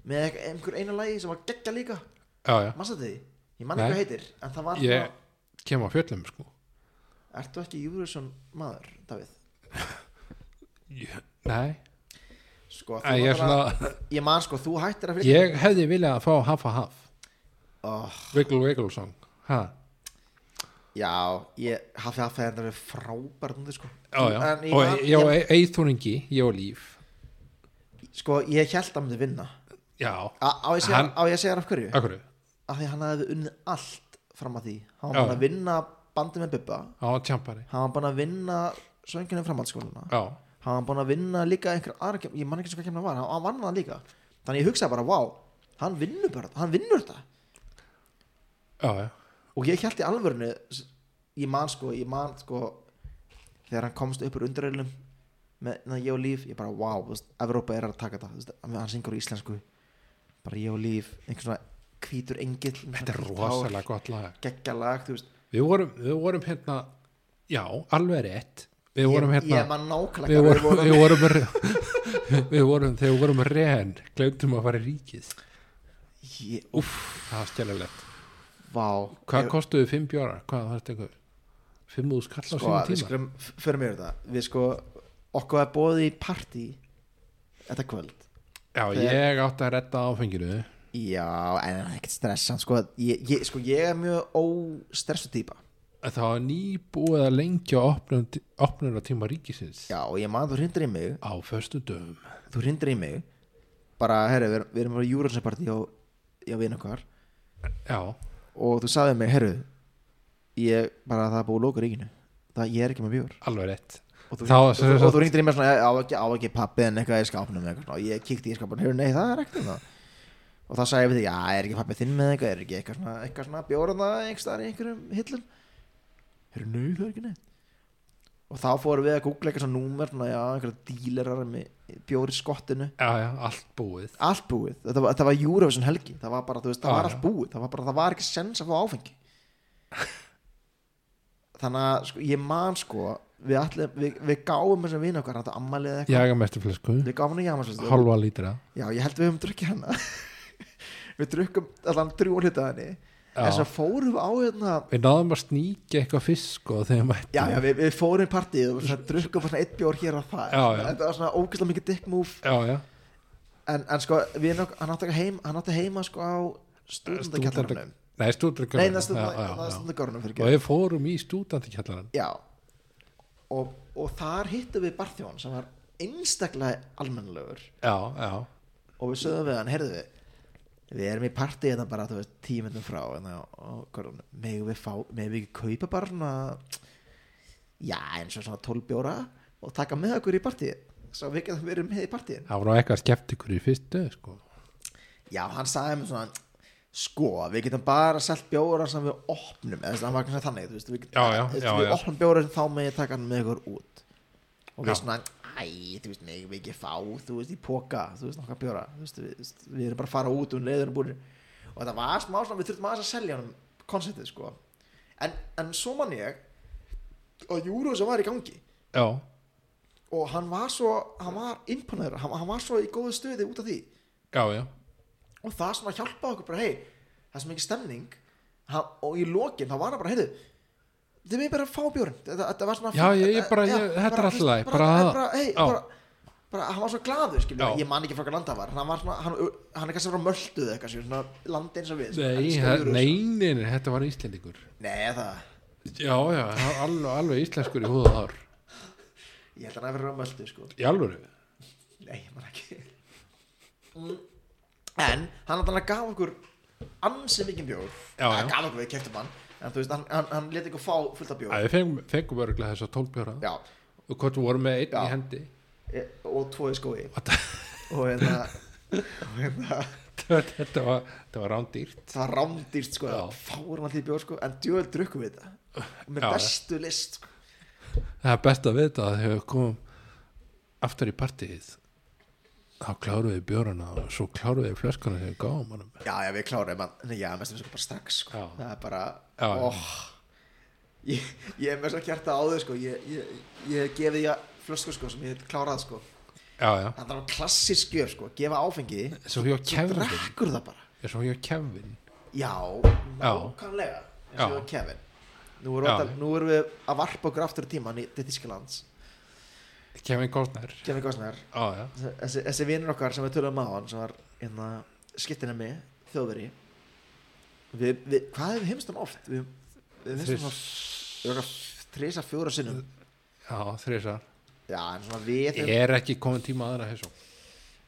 Speaker 2: með ek- einhver eina lagi sem var geggja líka
Speaker 1: já, já.
Speaker 2: mannstu því, ég man ekki
Speaker 1: Nei.
Speaker 2: hvað heitir en það var
Speaker 1: Ég kem á fjöllum sko
Speaker 2: svona, ertu ekki Júriðsson maður, Davíð
Speaker 1: ég, Nei,
Speaker 2: sko,
Speaker 1: Æ,
Speaker 2: þú
Speaker 1: ég er
Speaker 2: náttúrulega-
Speaker 1: svona-
Speaker 2: ég man sko, þú hættir að
Speaker 1: ég hefði viljað að fá haf að haf
Speaker 2: oh,
Speaker 1: Wiggle Wiggle Song ha.
Speaker 2: Já, ég hafði að það er frábært núna sko.
Speaker 1: Já, já,
Speaker 2: En ég,
Speaker 1: og
Speaker 2: man-
Speaker 1: ég
Speaker 2: ég,
Speaker 1: og eithúningi, ég og líf
Speaker 2: sko, ég held að hann myndi vinna
Speaker 1: Já,
Speaker 2: Á á ég að segja-
Speaker 1: Hann-
Speaker 2: á ég að segja hann af hverju?
Speaker 1: akkur á
Speaker 2: Af því hann hafði unnið allt fram að því Hann var
Speaker 1: Já.
Speaker 2: búin að vinna bandið með Bubba
Speaker 1: tjampari
Speaker 2: Hann var búin að vinna svönginu framhaldsskóluna
Speaker 1: Já,
Speaker 2: Hann var búin að vinna líka einhver aðra kem- Ég man ekki sem hvað kemna var, hann, hann vann það líka Þannig ég hugsaði bara, vá, hann vinnur bara Hann vinnur þetta
Speaker 1: já, já,
Speaker 2: og ég held í alvörinu ég man sko, ég man sko þegar hann komst upp úr undirreilum með na, ég og líf, ég bara wow þú veist, Evrópa er að taka þetta, þú veist, hann- hann syngur í íslensku bara ég og líf einhvern svona hvítur engill
Speaker 1: þetta er rosalega gott lag
Speaker 2: geggjalag, þú veist
Speaker 1: Við vorum, við vorum hérna Já, alveg rétt Við vorum
Speaker 2: ég, ég
Speaker 1: hérna
Speaker 2: man nákvæmlega
Speaker 1: Við
Speaker 2: hvað
Speaker 1: vorum, við vorum, við vorum þegar við vorum reyðan glemtum að fara í ríkið
Speaker 2: ég,
Speaker 1: Úff, það var stjælega
Speaker 2: vá,
Speaker 1: Hvað
Speaker 2: ég,
Speaker 1: kostuðu fimm bjóra? Hvað var þetta einhver? Fimm úr skall á
Speaker 2: sko,
Speaker 1: sínum
Speaker 2: við
Speaker 1: tíma?
Speaker 2: skulum f- förum yfir þetta, við sko okkur að bóði í partí þetta kvöld
Speaker 1: Já, ég átti að redda áfenginu
Speaker 2: já, en það er ekkert stressan sko, ég, ég, sko, ég er mjög óstressu típa
Speaker 1: En Það var nýbúið að lengja opnun, opnun á tíma ríkisins
Speaker 2: Já, og ég maður þú hrindir í mig
Speaker 1: á föstu dögum
Speaker 2: þú hrindir í mig bara, herru, við, við erum bara júransapartí á, á vinn okkar
Speaker 1: Já,
Speaker 2: og þú sagði mig, herru ég, bara það er búið að lóka ríkinu það, ég er ekki með bjór
Speaker 1: alveg rétt
Speaker 2: og þú,
Speaker 1: Þá-
Speaker 2: og,
Speaker 1: sem
Speaker 2: og,
Speaker 1: sagt-
Speaker 2: þú hrindir í mig svona, á ekki, á ekki pappi en eitthvað í skápnum eða eitthvað, svona. og ég kíkti í skápnum, herru, nei, það er ekkert um það og það sagði ég við því, já, er ekki pappi þinn með eitthvað er ekki eitthvað svona, eitthvað svona bjórna einhverstaðar í einhverjum hillum herru, nei, það er ekki neitt og þá fórum við að googla eitthvað svona númer svona, já, einhverja dílarar með bjóri skottinu
Speaker 1: Já, já, allt búið
Speaker 2: allt búið, þetta var, þetta var Eurovision helgi það var bara, þú veist, það
Speaker 1: Já,
Speaker 2: var
Speaker 1: Ah, já.
Speaker 2: allt búið það var bara, það var ekki sens að fá áfengi þannig að sko, ég man sko við, allir, við, við gáum þessum vinn okkar þetta ammalið eða eitthvað,
Speaker 1: Jaga mestu flösku,
Speaker 2: við gáum hann í jamasvestu
Speaker 1: hálfa lítra
Speaker 2: já, ég held við höfum drukkið hana við drukkum allan drjú hluta af henni
Speaker 1: Já.
Speaker 2: en svo fórum við á hérna
Speaker 1: Við náðum að sníkja eitthvað fisk sko, og þegar mættum
Speaker 2: já, já, við, við fórum í partíð og svona, drukkum bara svona eitt bjór hér og það
Speaker 1: Já, já.
Speaker 2: þetta var svona ógæslega mikið dick move
Speaker 1: já, já.
Speaker 2: en, en sko, við nokk, hann átti heim, hann átti heima sko á stúdendakjallarunum
Speaker 1: Nei, stúdentakjallarunum
Speaker 2: Nei, það
Speaker 1: já,
Speaker 2: stundur
Speaker 1: já, já.
Speaker 2: stundagörnum fyrir
Speaker 1: Og
Speaker 2: ekki
Speaker 1: við fórum í stúdentakjallarun
Speaker 2: Já og, og þar hittum við Barþjón sem var einstaklega almennlegur
Speaker 1: Já, já,
Speaker 2: og við sögðum við hann, heyrðu við við erum í partí þetta bara, þú veist, tímendum frá hérna, og görðum, megum við fá megum við ekki kaupa bara svona já, eins og svona 12 bjóra og taka með okkur í partí svo við getum verið með í partíin
Speaker 1: það var nú eitthvað skeptikur í fyrstu sko.
Speaker 2: Já, hann sagði mér svona sko, við getum bara selt bjóra sem við opnum, eða þess að hann var ekki svona þannig þú veist, við,
Speaker 1: Já, já,
Speaker 2: þú veist,
Speaker 1: já,
Speaker 2: við
Speaker 1: já.
Speaker 2: opnum bjóra sem þá með ég taka hann með ykkur út og við
Speaker 1: Já.
Speaker 2: svona, æ, þú veist, megum við ekki fá þú veist, í póka, þú veist, nokkað bjóra þú veist, við, þú veist, við erum bara að fara út um leiður búin og þetta var smá svona, við þurftum aðeins að selja hann konceptið, sko en, en svo man ég að júru sem var í gangi
Speaker 1: Já,
Speaker 2: og hann var svo hann var imponaður, hann, hann var svo í góðu stöði út af því
Speaker 1: já, já,
Speaker 2: og það sem að hjálpa okkur bara hei það sem ekki stemning hann, og í lokin þá var hann bara heyrðu þið með bara fá bjórn þetta, þetta var svona
Speaker 1: Já,
Speaker 2: fínt,
Speaker 1: ég- ég
Speaker 2: þetta-
Speaker 1: bara-
Speaker 2: já,
Speaker 1: ég- þetta er allt í lagi,
Speaker 2: bara, eh,
Speaker 1: bara-
Speaker 2: bara, hey,
Speaker 1: já.
Speaker 2: bara, bara hann var svo glaður skilur,
Speaker 1: Já.
Speaker 2: ég man ekki frá hvað landa var hann, var svona, hann, hann er kannski frá möldu eða eitthvað skilur, svona landi eins og við sko. svona,
Speaker 1: nei,
Speaker 2: elska
Speaker 1: he-
Speaker 2: Eurovision.
Speaker 1: nei, nei, nei, þetta var íslendingur
Speaker 2: nei það,
Speaker 1: já, já, hann var alveg, alveg íslenskur í húða þar
Speaker 2: ég held að hann að vera frá möldu sko.
Speaker 1: í alvöru,
Speaker 2: Nei, ég man ekki Mm. En hann hann gaf okkur ansi mikið bjór
Speaker 1: Já, já.
Speaker 2: Hann gaf okkur við keftum hann En þú veist, hann, hann, hann leti ykkur fá fullt af bjór
Speaker 1: að við fengum, fengum örgulega þess að tólbjóra
Speaker 2: Já,
Speaker 1: og hvort við vorum með einn
Speaker 2: Já.
Speaker 1: í hendi
Speaker 2: e- og tvoði skói
Speaker 1: Þetta-
Speaker 2: Og hérna og hérna-
Speaker 1: þetta var, þetta var rándýrt
Speaker 2: Það var rámdýrt sko
Speaker 1: Já.
Speaker 2: Fáur hann því bjór sko En djöðl drukkum við þetta Og Með
Speaker 1: Já, já.
Speaker 2: bestu list sko.
Speaker 1: það er best að vita að þegar við komum aftur í partíið þá kláruðu við bjórana og svo kláruðu við flöskana þegar við gáum hann
Speaker 2: Já, já, við klárum hann Nei, Já, mestum við sko bara strax sko
Speaker 1: Já.
Speaker 2: Það er bara
Speaker 1: Já, já.
Speaker 2: oh, ég, ég er með svo kjarta á þau sko Ég, ég, ég gefið ég flösku sko Sem ég klárað sko
Speaker 1: já, já,
Speaker 2: Það var klassisk gjöf sko, gefa áfengi
Speaker 1: svo hjá
Speaker 2: Svo
Speaker 1: Kevin
Speaker 2: drakkur það bara
Speaker 1: svo hjá Kevin
Speaker 2: Já, nákvæmlega eins
Speaker 1: Já.
Speaker 2: og hjá Kevin Nú erum,
Speaker 1: Já.
Speaker 2: óttal, nú erum við að varpa okkur aftur í tíman í til Þýskalands
Speaker 1: Kevin Kostner
Speaker 2: Kevin Costner,
Speaker 1: já, já,
Speaker 2: þessi, þessi vinur okkar sem við tölum á hann sem var hérna, skittina með þjóðveri við, við, Hvað hefur heimstum oft? Við, við heimstum oft örugglega þrisvar, fjóra sinnum
Speaker 1: já þrísar
Speaker 2: Já, en svona við
Speaker 1: er ekki komin tíma aðra þessu